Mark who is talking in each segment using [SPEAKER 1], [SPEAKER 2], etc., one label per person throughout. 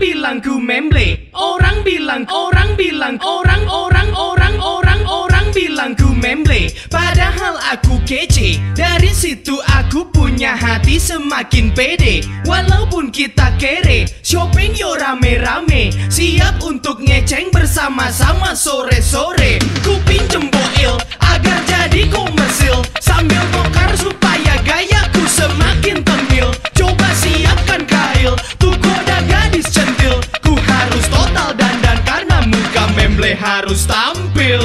[SPEAKER 1] bilang ku memble Orang bilang, orang bilang, orang, orang, orang, orang, orang bilang ku memble Padahal aku kece Dari situ aku punya hati semakin pede Walaupun kita kere Shopping yo rame-rame Siap untuk ngeceng bersama-sama sore-sore Ku pinjem boil agar jadi komersil Sambil bokar supaya gayaku semakin tengil Coba siapkan kail Tuku dan gadis centil Ku harus total dandan Karena muka memble harus tampil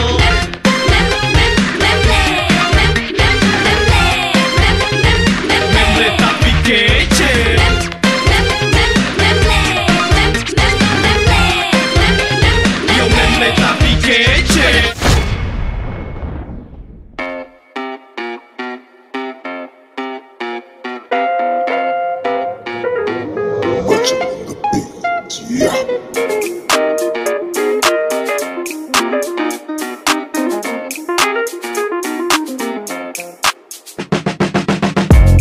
[SPEAKER 1] Memble tapi kece Yo memble tapi kece
[SPEAKER 2] Much of the beat, yeah.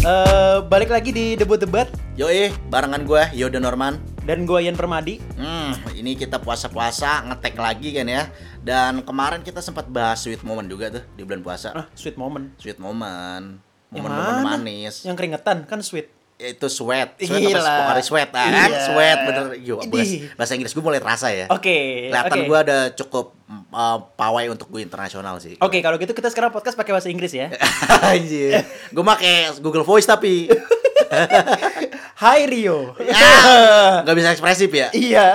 [SPEAKER 3] Eh, balik lagi di debut-debat
[SPEAKER 4] Yoi, barengan gue Yodo Norman.
[SPEAKER 3] dan gue Ian Permadi.
[SPEAKER 4] Hmm, ini kita puasa-puasa ngetek lagi kan ya. Dan kemarin kita sempat bahas sweet moment juga tuh di bulan puasa.
[SPEAKER 3] Ah, sweet moment.
[SPEAKER 4] Sweet moment,
[SPEAKER 3] Yang
[SPEAKER 4] momen-momen
[SPEAKER 3] mana?
[SPEAKER 4] manis.
[SPEAKER 3] Yang keringetan kan sweet.
[SPEAKER 4] Itu sweat, sweat
[SPEAKER 3] Gila.
[SPEAKER 4] apa sih? Pokari sweat ah, kan?
[SPEAKER 3] Iya.
[SPEAKER 4] Sweat bener. Yo,
[SPEAKER 3] Idih.
[SPEAKER 4] bahasa, bahasa Inggris gue mulai terasa ya.
[SPEAKER 3] Oke,
[SPEAKER 4] Kelihatan
[SPEAKER 3] oke.
[SPEAKER 4] gue ada cukup mm, uh, pawai untuk gue internasional sih.
[SPEAKER 3] Oke, kalau gitu kita sekarang podcast pakai bahasa Inggris ya.
[SPEAKER 4] Anjir. Gue make Google Voice tapi
[SPEAKER 3] Hai Rio.
[SPEAKER 4] ya, nggak bisa ekspresif ya.
[SPEAKER 3] iya.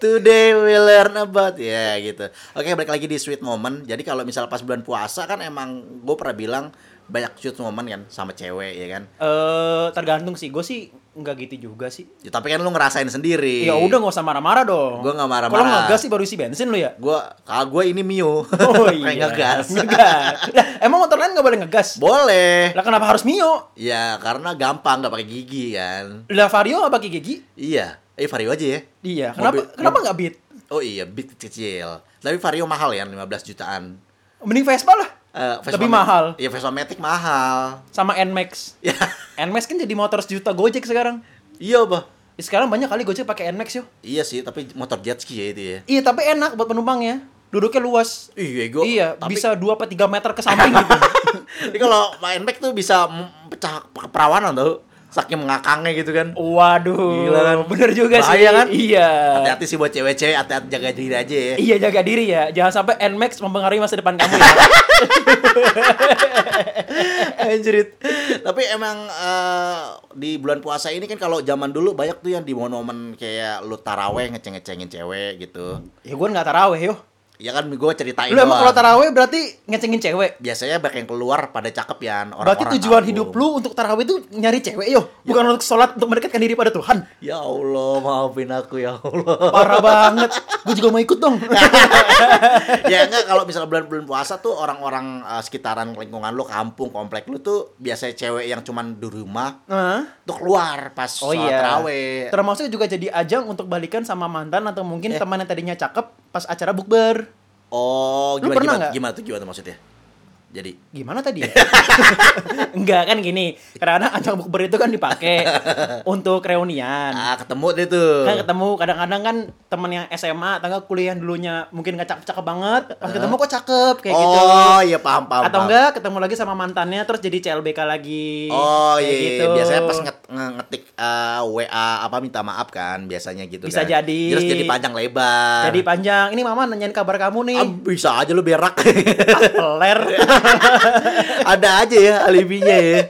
[SPEAKER 4] Today we learn about ya gitu. Oke balik lagi di sweet moment. Jadi kalau misal pas bulan puasa kan emang gue pernah bilang banyak sweet moment kan sama cewek ya kan.
[SPEAKER 3] Eh, tergantung sih. Gue sih nggak gitu juga sih.
[SPEAKER 4] Ya, tapi kan lu ngerasain sendiri.
[SPEAKER 3] Ya udah nggak usah marah-marah dong.
[SPEAKER 4] Gua nggak marah-marah.
[SPEAKER 3] Kalau ngegas sih baru isi bensin lu ya. iya.
[SPEAKER 4] Gue kalau gue ini Mio. Kayak ngegas.
[SPEAKER 3] Oh, Ngegas. Lah, emang motor lain nggak boleh ngegas?
[SPEAKER 4] Boleh.
[SPEAKER 3] Lah kenapa harus Mio?
[SPEAKER 4] Ya karena gampang nggak pakai gigi kan.
[SPEAKER 3] Lah Vario nggak pakai gigi?
[SPEAKER 4] Iya. Eh Vario aja ya.
[SPEAKER 3] Iya.
[SPEAKER 4] Mobil-
[SPEAKER 3] Kenapa kenapa nggak Beat?
[SPEAKER 4] Oh iya beat kecil. Tapi Vario mahal ya 15 jutaan.
[SPEAKER 3] Mending Vespa lah.
[SPEAKER 4] Eh,
[SPEAKER 3] Lebih
[SPEAKER 4] Vespa-
[SPEAKER 3] mahal.
[SPEAKER 4] Iya Vespa Matic mahal.
[SPEAKER 3] Sama Nmax.
[SPEAKER 4] Ya.
[SPEAKER 3] Nmax kan jadi motor sejuta Gojek sekarang.
[SPEAKER 4] Iya bah.
[SPEAKER 3] Ih, Sekarang banyak kali Gojek pakai Nmax yo.
[SPEAKER 4] Iya sih, tapi motor jet ski ya itu ya.
[SPEAKER 3] Iya, tapi enak buat penumpangnya. Duduknya luas.
[SPEAKER 4] Iya, gue.
[SPEAKER 3] iya,
[SPEAKER 4] tapi,
[SPEAKER 3] bisa 2 apa 3 meter ke samping gitu.
[SPEAKER 4] Tapi kalau main back tuh bisa m- pecah pe- perawanan tau. Saking mengakangnya gitu kan.
[SPEAKER 3] Oh. Waduh.
[SPEAKER 4] Gila kan?
[SPEAKER 3] Bener juga sih.
[SPEAKER 4] Bahaya kan?
[SPEAKER 3] Iya.
[SPEAKER 4] Hati-hati sih buat cewek-cewek, hati-hati jaga diri aja ya.
[SPEAKER 3] Iya, jaga diri ya. Jangan sampai Nmax mempengaruhi masa depan kamu ya.
[SPEAKER 4] Anjrit. tapi emang eh, di bulan puasa ini kan kalau zaman dulu banyak tuh yang di momen kayak lu taraweh ngeceng-ngecengin cewek gitu.
[SPEAKER 3] ya gue nggak taraweh yo.
[SPEAKER 4] Ya kan gue ceritain
[SPEAKER 3] Lu emang
[SPEAKER 4] doang.
[SPEAKER 3] kalau taraweh berarti ngecengin cewek.
[SPEAKER 4] Biasanya banyak yang keluar pada cakep ya orang-orang Iya.
[SPEAKER 3] berarti tujuan
[SPEAKER 4] kampung.
[SPEAKER 3] hidup lu untuk taraweh itu nyari cewek yo, bukan untuk sholat untuk mendekatkan diri pada Tuhan.
[SPEAKER 4] Ya Allah, maafin aku ya Allah.
[SPEAKER 3] Parah banget. Gue juga mau ikut dong.
[SPEAKER 4] Nah. ya enggak kalau misalnya bulan-bulan puasa tuh orang-orang eh, sekitaran lingkungan lu, kampung, komplek lu tuh biasanya cewek yang cuman di rumah
[SPEAKER 3] Hah?
[SPEAKER 4] tuh keluar pas
[SPEAKER 3] Oh
[SPEAKER 4] sholat
[SPEAKER 3] iya.
[SPEAKER 4] taraweh.
[SPEAKER 3] Termasuk juga jadi ajang untuk balikan sama mantan atau mungkin
[SPEAKER 4] Eh.
[SPEAKER 3] teman yang tadinya cakep pas acara bukber.
[SPEAKER 4] oh,
[SPEAKER 3] Lu
[SPEAKER 4] gimana
[SPEAKER 3] pernah
[SPEAKER 4] gimana,
[SPEAKER 3] nggak?
[SPEAKER 4] gimana tuh gimana tuh maksudnya? Jadi
[SPEAKER 3] Gimana tadi ya? Enggak kan gini, karena ajang bukber itu kan dipakai untuk reunian.
[SPEAKER 4] ah ketemu deh tuh.
[SPEAKER 3] Kan ketemu kadang-kadang kan temen yang SMA, tangga kuliah yang dulunya mungkin gak cakep-cakep banget, pas ketemu kok cakep kayak
[SPEAKER 4] oh,
[SPEAKER 3] gitu.
[SPEAKER 4] iya paham paham.
[SPEAKER 3] Atau
[SPEAKER 4] paham.
[SPEAKER 3] enggak ketemu lagi sama mantannya terus jadi CLBK lagi.
[SPEAKER 4] Oh
[SPEAKER 3] kayak
[SPEAKER 4] iya, iya.
[SPEAKER 3] gitu.
[SPEAKER 4] biasanya pas nge- nge- ngetik eh, WA apa minta maaf kan biasanya gitu
[SPEAKER 3] Bisa
[SPEAKER 4] kan.
[SPEAKER 3] jadi.
[SPEAKER 4] Terus jadi panjang lebar.
[SPEAKER 3] jadi panjang. Ini mama nanyain kabar kamu nih.
[SPEAKER 4] Ah, bisa aja lu berak.
[SPEAKER 3] Peler.
[SPEAKER 4] Iya, Ada aja ya alibinya ya.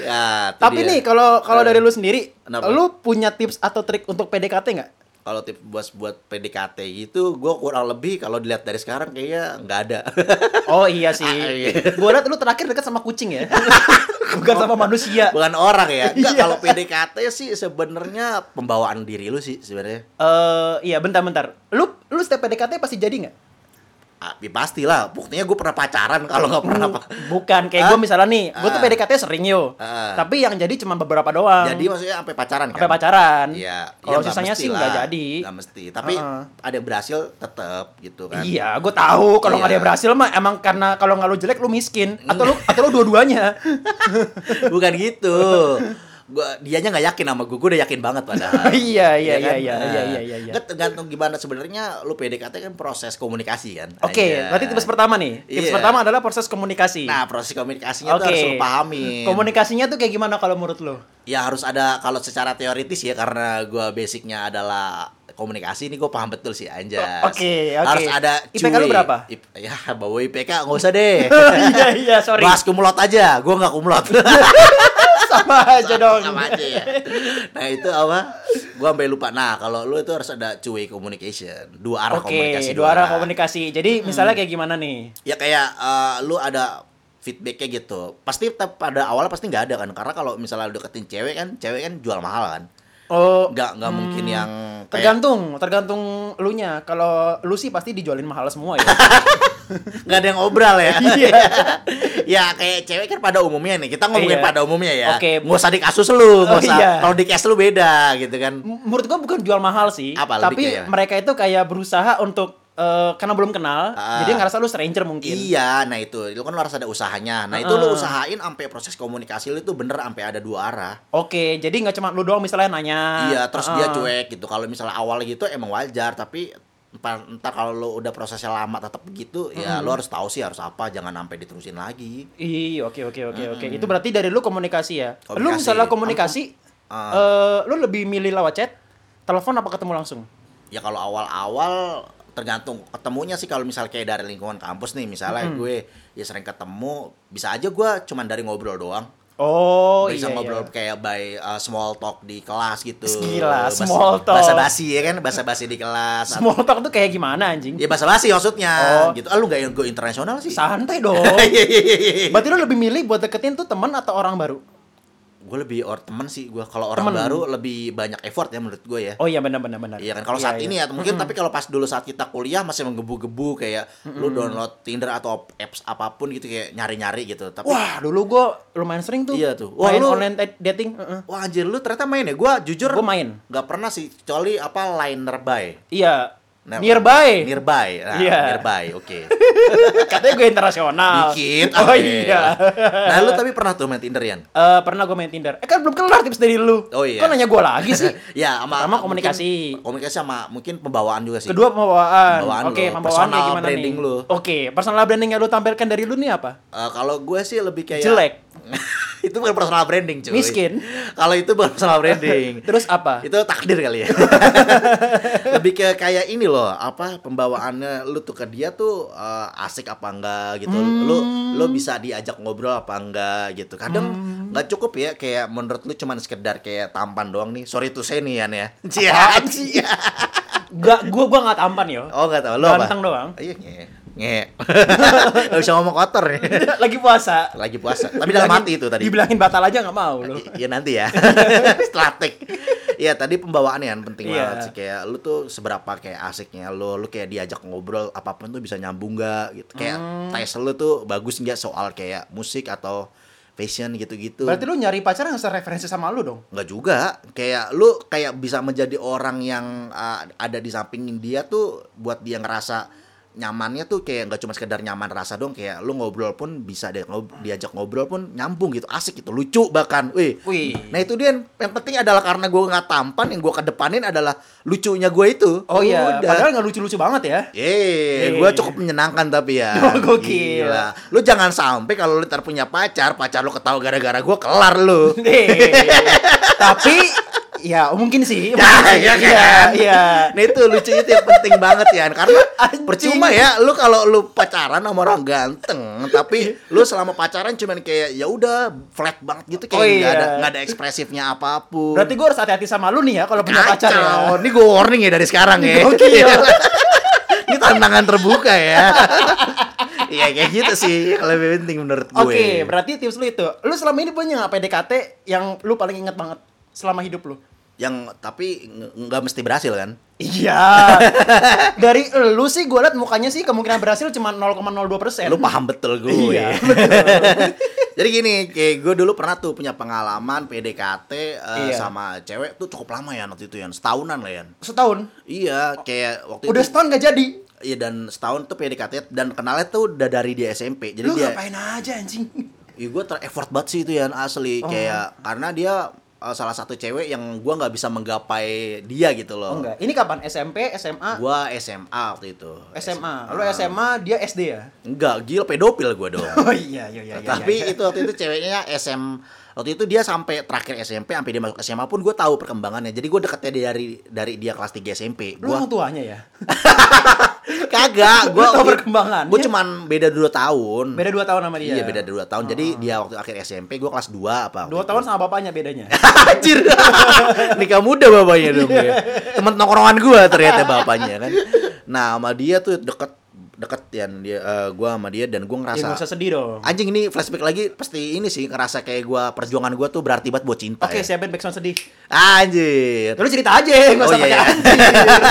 [SPEAKER 4] Ya, itu
[SPEAKER 3] Tapi
[SPEAKER 4] dia.
[SPEAKER 3] nih kalau kalau
[SPEAKER 4] Eh,
[SPEAKER 3] dari lu sendiri,
[SPEAKER 4] kenapa?
[SPEAKER 3] lu punya tips atau trik untuk PDKT nggak?
[SPEAKER 4] kalau tips buat buat PDKT gitu, gue kurang lebih kalau dilihat dari sekarang kayaknya nggak ada.
[SPEAKER 3] Oh iya sih.
[SPEAKER 4] Ah, iya.
[SPEAKER 3] Gua liat lu terakhir dekat sama kucing ya. Bukan sama manusia.
[SPEAKER 4] Bukan orang ya. Nggak,
[SPEAKER 3] Iya.
[SPEAKER 4] kalau PDKT sih sebenarnya pembawaan diri lu sih sebenarnya.
[SPEAKER 3] Eh iya bentar-bentar. Lu lu setiap PDKT pasti jadi nggak?
[SPEAKER 4] Ah, ya pastilah. Buktinya gue pernah pacaran kalau nggak pernah apa.
[SPEAKER 3] Hmm, Bukan kayak
[SPEAKER 4] Ah?
[SPEAKER 3] gua misalnya nih, gua tuh
[SPEAKER 4] Ah.
[SPEAKER 3] PDKT sering yo.
[SPEAKER 4] Ah.
[SPEAKER 3] Tapi yang jadi cuma beberapa doang.
[SPEAKER 4] Jadi maksudnya sampai pacaran kan?
[SPEAKER 3] sampai pacaran.
[SPEAKER 4] Iya. ya
[SPEAKER 3] Kalau
[SPEAKER 4] nggak
[SPEAKER 3] sisanya
[SPEAKER 4] mesti
[SPEAKER 3] sih
[SPEAKER 4] lah.
[SPEAKER 3] nggak jadi.
[SPEAKER 4] Nggak mesti. Tapi
[SPEAKER 3] Heeh.
[SPEAKER 4] ada yang berhasil tetap gitu kan.
[SPEAKER 3] Iya, gue tahu kalau nggak
[SPEAKER 4] Iya.
[SPEAKER 3] ada yang berhasil mah emang karena kalau nggak lu jelek lu miskin atau lu atau lu dua-duanya.
[SPEAKER 4] Bukan gitu. gua dianya nggak yakin sama gue, gue udah yakin banget padahal.
[SPEAKER 3] Iya, iya,
[SPEAKER 4] Ya kan?
[SPEAKER 3] iya, iya, iya,
[SPEAKER 4] Nah,
[SPEAKER 3] iya, iya.
[SPEAKER 4] nggak tergantung gimana sebenarnya lu PDKT kan proses komunikasi kan.
[SPEAKER 3] Oke,
[SPEAKER 4] Iya.
[SPEAKER 3] berarti tips pertama nih. Tips
[SPEAKER 4] Iya.
[SPEAKER 3] pertama adalah proses komunikasi.
[SPEAKER 4] Nah, proses komunikasinya tuh harus lu pahami.
[SPEAKER 3] Komunikasinya tuh kayak gimana kalau menurut lo?
[SPEAKER 4] ya harus ada kalau secara teoritis ya karena gua basicnya adalah komunikasi ini gue paham betul sih anjas.
[SPEAKER 3] Oke, oke.
[SPEAKER 4] Harus ada
[SPEAKER 3] IPK lu
[SPEAKER 4] cuy.
[SPEAKER 3] berapa?
[SPEAKER 4] Ip- ya bawa IPK nggak usah deh.
[SPEAKER 3] Iya, iya, sorry.
[SPEAKER 4] Bahas kumulot aja, gua nggak kumulot.
[SPEAKER 3] Sama aja dong.
[SPEAKER 4] Sama aja ya. Nah, itu apa? Gua sampai lupa. Nah, kalau lu itu harus ada cuy communication, dua arah
[SPEAKER 3] Oke,
[SPEAKER 4] komunikasi.
[SPEAKER 3] dua arah komunikasi. Jadi misalnya kayak gimana nih?
[SPEAKER 4] ya kayak eh, lu ada feedbacknya gitu pasti tetap pada awal pasti nggak ada kan karena kalau misalnya deketin cewek kan cewek kan jual mahal kan
[SPEAKER 3] Oh,
[SPEAKER 4] nggak nggak mungkin yang kayak-
[SPEAKER 3] tergantung, tergantung elunya. Kalau lu sih pasti dijualin mahal semua ya.
[SPEAKER 4] nggak ada yang obral ya
[SPEAKER 3] Iya.
[SPEAKER 4] ya kayak cewek kan pada umumnya nih kita ngomongin
[SPEAKER 3] Iya.
[SPEAKER 4] pada umumnya ya
[SPEAKER 3] Oke.
[SPEAKER 4] nggak usah di kasus lu nggak
[SPEAKER 3] Oh,
[SPEAKER 4] usah
[SPEAKER 3] iya.
[SPEAKER 4] kalau di case lu beda gitu kan
[SPEAKER 3] M- menurut gua bukan jual mahal sih,
[SPEAKER 4] Apa, lebih
[SPEAKER 3] tapi
[SPEAKER 4] kayak-
[SPEAKER 3] mereka itu kayak berusaha untuk eh, karena belum kenal,
[SPEAKER 4] Ah.
[SPEAKER 3] jadi ngerasa lu stranger mungkin.
[SPEAKER 4] Iya, nah itu, itu kan lu harus ada usahanya. Nah itu lu usahain sampai proses komunikasi lu itu bener sampai ada dua arah.
[SPEAKER 3] Oke, jadi nggak cuma lu doang misalnya nanya.
[SPEAKER 4] Iya, terus
[SPEAKER 3] Ah.
[SPEAKER 4] dia cuek gitu. Kalau misalnya awal gitu emang wajar, tapi entar, entar kalau lo udah prosesnya lama tetap begitu, ya lo harus tahu sih harus apa, jangan sampai diterusin lagi.
[SPEAKER 3] Iya, oke oke oke oke. Itu berarti dari lu komunikasi ya. Lu
[SPEAKER 4] Komunikasi.
[SPEAKER 3] misalnya komunikasi eh
[SPEAKER 4] Ah.
[SPEAKER 3] lu lebih milih lewat chat, telepon apa ketemu langsung?
[SPEAKER 4] Ya kalau awal-awal tergantung ketemunya sih kalau misalnya kayak dari lingkungan kampus nih, misalnya gue ya sering ketemu, bisa aja gue cuman dari ngobrol doang.
[SPEAKER 3] Oh,
[SPEAKER 4] bisa
[SPEAKER 3] iya.
[SPEAKER 4] ngobrol
[SPEAKER 3] iya.
[SPEAKER 4] kayak by uh, small talk di kelas gitu.
[SPEAKER 3] Gila,
[SPEAKER 4] Bas-
[SPEAKER 3] small talk.
[SPEAKER 4] Basa-basi ya kan, basa-basi di kelas.
[SPEAKER 3] Small talk tuh kayak gimana anjing?
[SPEAKER 4] Ya basa-basi maksudnya
[SPEAKER 3] Oh.
[SPEAKER 4] gitu. Ah lu gak yang go internasional sih?
[SPEAKER 3] Santai dong.
[SPEAKER 4] Iya, iya, iya, iya.
[SPEAKER 3] berarti lu lebih milih buat deketin tuh teman atau orang baru?
[SPEAKER 4] gue lebih or temen sih gue kalau orang
[SPEAKER 3] Temen.
[SPEAKER 4] baru lebih banyak effort ya menurut gue ya
[SPEAKER 3] Oh iya benar benar benar.
[SPEAKER 4] iya kan kalau saat ini ya mungkin tapi kalau pas dulu saat kita kuliah masih menggebu-gebu kayak lu download Tinder atau apps apapun gitu kayak nyari-nyari gitu tapi
[SPEAKER 3] Wah, dulu gua lumayan sering tuh.
[SPEAKER 4] Iya tuh. Wah,
[SPEAKER 3] Main
[SPEAKER 4] lu-
[SPEAKER 3] online t- dating. Heeh.
[SPEAKER 4] wah anjir lu ternyata main ya gue jujur
[SPEAKER 3] Gua main.
[SPEAKER 4] nggak pernah sih kecuali apa line nearby
[SPEAKER 3] Iya.
[SPEAKER 4] Nah,
[SPEAKER 3] Nearby.
[SPEAKER 4] nearby nah,
[SPEAKER 3] Iya.
[SPEAKER 4] nearby oke
[SPEAKER 3] Katanya gue internasional.
[SPEAKER 4] dikit
[SPEAKER 3] Oh
[SPEAKER 4] oke.
[SPEAKER 3] iya.
[SPEAKER 4] nah lu tapi pernah tuh main Tinder Yan?
[SPEAKER 3] Eh, pernah gue main Tinder. Eh kan belum kelar tips dari lu.
[SPEAKER 4] Oh, iya.
[SPEAKER 3] Kok nanya gue lagi sih?
[SPEAKER 4] ya sama
[SPEAKER 3] Pertama
[SPEAKER 4] mungkin-
[SPEAKER 3] komunikasi.
[SPEAKER 4] komunikasi sama mungkin pembawaan juga sih
[SPEAKER 3] Kedua pembawaan.
[SPEAKER 4] Pembawaan
[SPEAKER 3] Oke,
[SPEAKER 4] lu.
[SPEAKER 3] pembawaan kayak
[SPEAKER 4] Personal
[SPEAKER 3] gimana
[SPEAKER 4] branding
[SPEAKER 3] nih?
[SPEAKER 4] lu.
[SPEAKER 3] Oke, personal branding yang lu tampilkan dari lu nih apa?
[SPEAKER 4] Eh, kalau gue sih lebih kayak
[SPEAKER 3] Jelek.
[SPEAKER 4] itu bukan personal branding cuy
[SPEAKER 3] Miskin.
[SPEAKER 4] kalau itu bukan personal branding
[SPEAKER 3] Terus apa?
[SPEAKER 4] itu takdir kali ya lebih ke kayak ini loh apa pembawaannya lu tuh ke dia tuh eh, asik apa enggak gitu lu lu
[SPEAKER 3] Hmm.
[SPEAKER 4] bisa diajak ngobrol apa enggak gitu kadang nggak cukup ya kayak menurut lu cuman sekedar kayak tampan doang nih sorry tuh saya nih Yan ya Cian, cian.
[SPEAKER 3] Gak, gua gua nggak tampan yo.
[SPEAKER 4] oh nggak tahu lo apa
[SPEAKER 3] Ganteng doang.
[SPEAKER 4] iya nge nge nggak bisa ngomong kotor ya. nih
[SPEAKER 3] Lagi puasa.
[SPEAKER 4] lagi puasa tapi dalam
[SPEAKER 3] Dibilangin-
[SPEAKER 4] hati itu tadi
[SPEAKER 3] Dibilangin batal aja nggak mau lu.
[SPEAKER 4] I- Iya nanti ya. Stratek. Iya tadi pembawaannya yang penting
[SPEAKER 3] Iya.
[SPEAKER 4] banget sih kayak lu tuh seberapa kayak asiknya lu, lu kayak diajak ngobrol apapun tuh bisa nyambung gak gitu. Kayak
[SPEAKER 3] Hmm.
[SPEAKER 4] tes lu tuh bagus nggak soal kayak musik atau fashion gitu-gitu.
[SPEAKER 3] Berarti lu nyari pacar yang referensi sama lu dong.
[SPEAKER 4] nggak juga kayak lu kayak bisa menjadi orang yang uh, ada di samping dia tuh buat dia ngerasa nyamannya tuh kayak nggak cuma sekedar nyaman rasa dong kayak lu ngobrol pun bisa dia ngob- diajak ngobrol pun nyambung gitu asik gitu lucu bahkan wih
[SPEAKER 3] Wih.
[SPEAKER 4] nah itu dia yang- yang penting adalah karena gue nggak tampan yang gue kedepanin adalah lucunya gue itu
[SPEAKER 3] Oh iya,
[SPEAKER 4] Udah.
[SPEAKER 3] padahal nggak lucu-lucu banget ya.
[SPEAKER 4] Eh,
[SPEAKER 3] Eh.
[SPEAKER 4] gue cukup menyenangkan tapi ya.
[SPEAKER 3] Oh, gokil.
[SPEAKER 4] Gila. Lu jangan sampai kalau lu ntar punya pacar, pacar lu ketawa gara-gara gue kelar lu.
[SPEAKER 3] Eh, Tapi ya mungkin sih.
[SPEAKER 4] Ya,
[SPEAKER 3] mungkin
[SPEAKER 4] ya
[SPEAKER 3] sih.
[SPEAKER 4] kan?
[SPEAKER 3] Iya,
[SPEAKER 4] Nah itu lucu itu yang penting banget ya Karena
[SPEAKER 3] Anjing.
[SPEAKER 4] percuma ya Lu kalau lu pacaran sama orang ganteng Tapi lu selama pacaran cuman kayak ya udah flat banget gitu Kayak
[SPEAKER 3] Oh, iya.
[SPEAKER 4] nggak ada, nggak ada ekspresifnya apapun
[SPEAKER 3] Berarti gua harus hati-hati sama lu nih ya kalau punya pacar ya.
[SPEAKER 4] Kacau. Ini gue warning ya dari sekarang ya
[SPEAKER 3] Gokil.
[SPEAKER 4] Ini tantangan terbuka ya Iya kayak gitu sih yang Lebih penting menurut gue
[SPEAKER 3] Oke, berarti tips lu itu. Lu selama ini punya nggak PDKT yang lu paling inget banget selama hidup lu?
[SPEAKER 4] Yang tapi nge- nggak mesti berhasil kan
[SPEAKER 3] Iya. Dari lu sih gue liat mukanya sih kemungkinan berhasil cuma 0,02 persen.
[SPEAKER 4] Lu paham betul
[SPEAKER 3] Eh.
[SPEAKER 4] gue.
[SPEAKER 3] Iya,
[SPEAKER 4] Jadi gini, kayak gue dulu pernah tuh punya pengalaman PDKT eh,
[SPEAKER 3] Iya.
[SPEAKER 4] sama cewek tuh cukup lama ya waktu itu ya, setahunan lah ya.
[SPEAKER 3] Setahun.
[SPEAKER 4] Iya, kayak waktu
[SPEAKER 3] Udah
[SPEAKER 4] itu.
[SPEAKER 3] setahun gak jadi.
[SPEAKER 4] Iya dan setahun tuh PDKT dan kenalnya tuh udah dari dia SMP. Jadi
[SPEAKER 3] lu
[SPEAKER 4] dia
[SPEAKER 3] ngapain aja anjing? Oh.
[SPEAKER 4] Iya gue ter-effort banget sih itu ya asli kayak karena dia eh, salah satu cewek yang gua nggak bisa menggapai dia gitu
[SPEAKER 3] Oh
[SPEAKER 4] loh.
[SPEAKER 3] enggak. Ini kapan? SMP, SMA?
[SPEAKER 4] Gua SMA waktu itu.
[SPEAKER 3] SMA. Lo SMA, dia SD ya?
[SPEAKER 4] Enggak, gila pedofil gua dong.
[SPEAKER 3] Oh iya, iya, iya. iya,
[SPEAKER 4] Tapi
[SPEAKER 3] iya.
[SPEAKER 4] itu waktu itu ceweknya SM waktu itu dia sampai terakhir SMP sampai dia masuk SMA pun gue tahu perkembangannya. Jadi gue deketnya dia dari dari dia kelas 3 SMP.
[SPEAKER 3] Lo
[SPEAKER 4] Gua
[SPEAKER 3] orang tuanya ya?
[SPEAKER 4] kagak,
[SPEAKER 3] Lu
[SPEAKER 4] gua
[SPEAKER 3] tahu perkembangannya?
[SPEAKER 4] Gue cuman beda 2 tahun.
[SPEAKER 3] Beda 2 tahun sama dia. Oh.
[SPEAKER 4] Iya, beda 2 tahun. Jadi dia waktu akhir SMP gue kelas 2 apa? waktu
[SPEAKER 3] 2 tahun sama bapaknya bedanya.
[SPEAKER 4] Anjir. Nikah muda bapaknya dong
[SPEAKER 3] Iya.
[SPEAKER 4] ya. Temen tongkrongan gua ternyata bapaknya kan. Nah, sama dia tuh deket deket yang dia eh, gua sama dia dan gua
[SPEAKER 3] Ya nggak
[SPEAKER 4] ngerasa
[SPEAKER 3] usah sedih dong.
[SPEAKER 4] anjing ini flashback lagi pasti ini sih ngerasa kayak gua perjuangan gua tuh berarti banget buat cinta.
[SPEAKER 3] Oke,
[SPEAKER 4] ya.
[SPEAKER 3] siapin backsound sedih.
[SPEAKER 4] Anjir.
[SPEAKER 3] Terus cerita aja, nggak
[SPEAKER 4] Oh,
[SPEAKER 3] usah
[SPEAKER 4] iya,
[SPEAKER 3] pakai
[SPEAKER 4] iya.
[SPEAKER 3] anjing.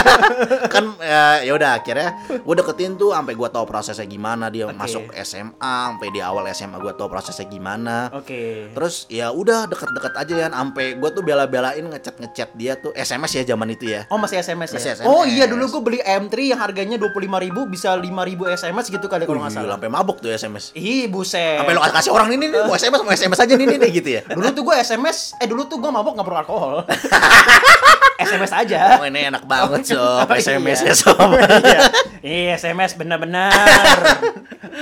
[SPEAKER 4] kan eh, ya udah akhirnya gue deketin tuh sampai gue tahu prosesnya gimana dia
[SPEAKER 3] Oke.
[SPEAKER 4] masuk SMA sampai di awal SMA gue tahu prosesnya gimana
[SPEAKER 3] Oke.
[SPEAKER 4] terus ya udah deket-deket aja ya sampai gue tuh bela-belain ngechat ngechat dia tuh SMS ya zaman itu ya
[SPEAKER 3] Oh masih SMS
[SPEAKER 4] Masih
[SPEAKER 3] ya?
[SPEAKER 4] SMS.
[SPEAKER 3] Oh iya dulu gue beli M3 yang harganya 25.000 bisa 5.000 SMS gitu kali kalau nggak
[SPEAKER 4] Wih,
[SPEAKER 3] salah. Iya.
[SPEAKER 4] sampai mabuk tuh SMS
[SPEAKER 3] Ih buset.
[SPEAKER 4] sampai lo kasih orang ini nih mau SMS mau SMS aja nih nih nih," gitu ya
[SPEAKER 3] Dulu tuh gue SMS, eh dulu tuh gue mabok nggak perlu alkohol. SMS aja.
[SPEAKER 4] Oh, ini enak banget sob SMS ya sob
[SPEAKER 3] Oh, Iya. Iya, SMS benar-benar.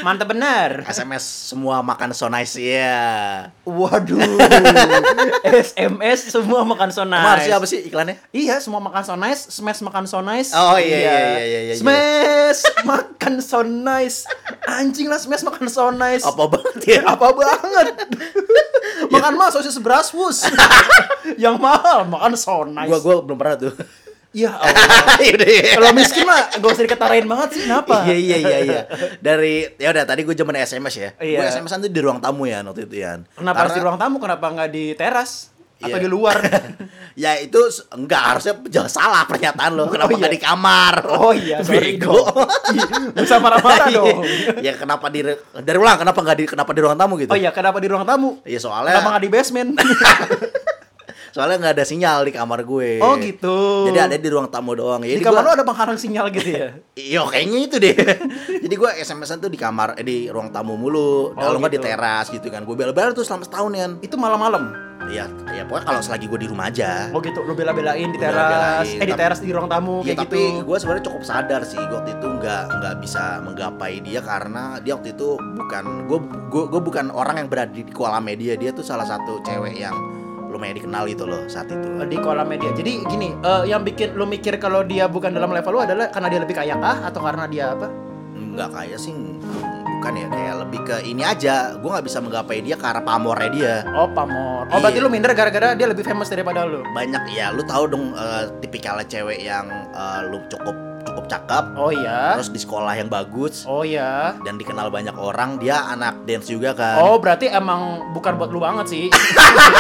[SPEAKER 3] Mantep benar.
[SPEAKER 4] SMS semua makan so nice ya
[SPEAKER 3] Waduh. SMS semua makan so nice.
[SPEAKER 4] Emang harusnya apa sih iklannya
[SPEAKER 3] Iya, semua makan so nice, smash makan so nice.
[SPEAKER 4] Oh, iya, iya, iya, iya, iya.
[SPEAKER 3] Smash makan so nice. Anjing lah smash makan so nice.
[SPEAKER 4] apa banget ya
[SPEAKER 3] Apa banget? makan mah sosis beras wus. Yang mahal makan so nice.
[SPEAKER 4] gua gua belum pernah tuh
[SPEAKER 3] Ya Allah.
[SPEAKER 4] Yaudah, ya.
[SPEAKER 3] Kalau miskin mah gak usah diketarain banget sih, kenapa?
[SPEAKER 4] Iya iya iya iya. Dari ya udah tadi gue zaman SMS ya.
[SPEAKER 3] Iya.
[SPEAKER 4] Gue SMS-an tuh di ruang tamu ya waktu itu ya.
[SPEAKER 3] Kenapa harus di ruang tamu? Kenapa nggak di teras? Atau
[SPEAKER 4] Iya.
[SPEAKER 3] di luar?
[SPEAKER 4] ya itu s- enggak harusnya jangan salah pernyataan lo. Kenapa
[SPEAKER 3] iya.
[SPEAKER 4] nggak di kamar?
[SPEAKER 3] Oh iya, sorry
[SPEAKER 4] Bego.
[SPEAKER 3] Bisa marah-marah dong.
[SPEAKER 4] ya kenapa di re- dari ulang kenapa nggak di kenapa di ruang tamu gitu?
[SPEAKER 3] Oh iya, kenapa di ruang tamu?
[SPEAKER 4] Iya, soalnya
[SPEAKER 3] Kenapa nggak di basement?
[SPEAKER 4] soalnya nggak ada sinyal di kamar gue.
[SPEAKER 3] Oh, gitu.
[SPEAKER 4] Jadi ada di ruang tamu doang.
[SPEAKER 3] di
[SPEAKER 4] Jadi
[SPEAKER 3] kamar
[SPEAKER 4] gua-
[SPEAKER 3] lo ada penghalang sinyal gitu ya?
[SPEAKER 4] Iya kayaknya itu deh. Jadi gue SMS-an tuh di kamar, eh, di ruang tamu
[SPEAKER 3] Oh,
[SPEAKER 4] mulu. Kalau nggak di
[SPEAKER 3] gitu.
[SPEAKER 4] teras gitu kan. Gue bela-bela tuh selama setahun kan.
[SPEAKER 3] Itu malam-malam.
[SPEAKER 4] Iya, ya pokoknya kalau selagi gue di rumah aja.
[SPEAKER 3] Oh gitu, lo bela-belain di
[SPEAKER 4] Gua
[SPEAKER 3] teras.
[SPEAKER 4] bela-belain,
[SPEAKER 3] Eh di
[SPEAKER 4] tapi-
[SPEAKER 3] teras di ruang tamu
[SPEAKER 4] Ya,
[SPEAKER 3] kayak
[SPEAKER 4] tapi
[SPEAKER 3] gitu.
[SPEAKER 4] gue sebenarnya cukup sadar sih gua waktu itu nggak nggak bisa menggapai dia karena dia waktu itu bukan gue gue bukan orang yang berada di kolam media dia tuh salah satu cewek yang lumayan dikenal gitu loh saat itu
[SPEAKER 3] di kolam media. Jadi gini, eh, yang bikin lo mikir kalau dia bukan dalam level lo adalah karena dia lebih kaya kah atau karena dia apa?
[SPEAKER 4] nggak kayak sih bukan ya kayak lebih ke ini aja gue nggak bisa menggapai dia karena pamornya dia
[SPEAKER 3] Oh pamor. Oh berarti
[SPEAKER 4] Iya.
[SPEAKER 3] lo minder gara-gara dia lebih famous daripada lo.
[SPEAKER 4] banyak ya lu tahu dong eh, tipikalnya cewek yang eh, lu cukup cukup cakep
[SPEAKER 3] Oh iya.
[SPEAKER 4] terus di sekolah yang bagus
[SPEAKER 3] Oh iya.
[SPEAKER 4] dan dikenal banyak orang dia anak dance juga kan
[SPEAKER 3] Oh berarti emang bukan buat lu banget sih.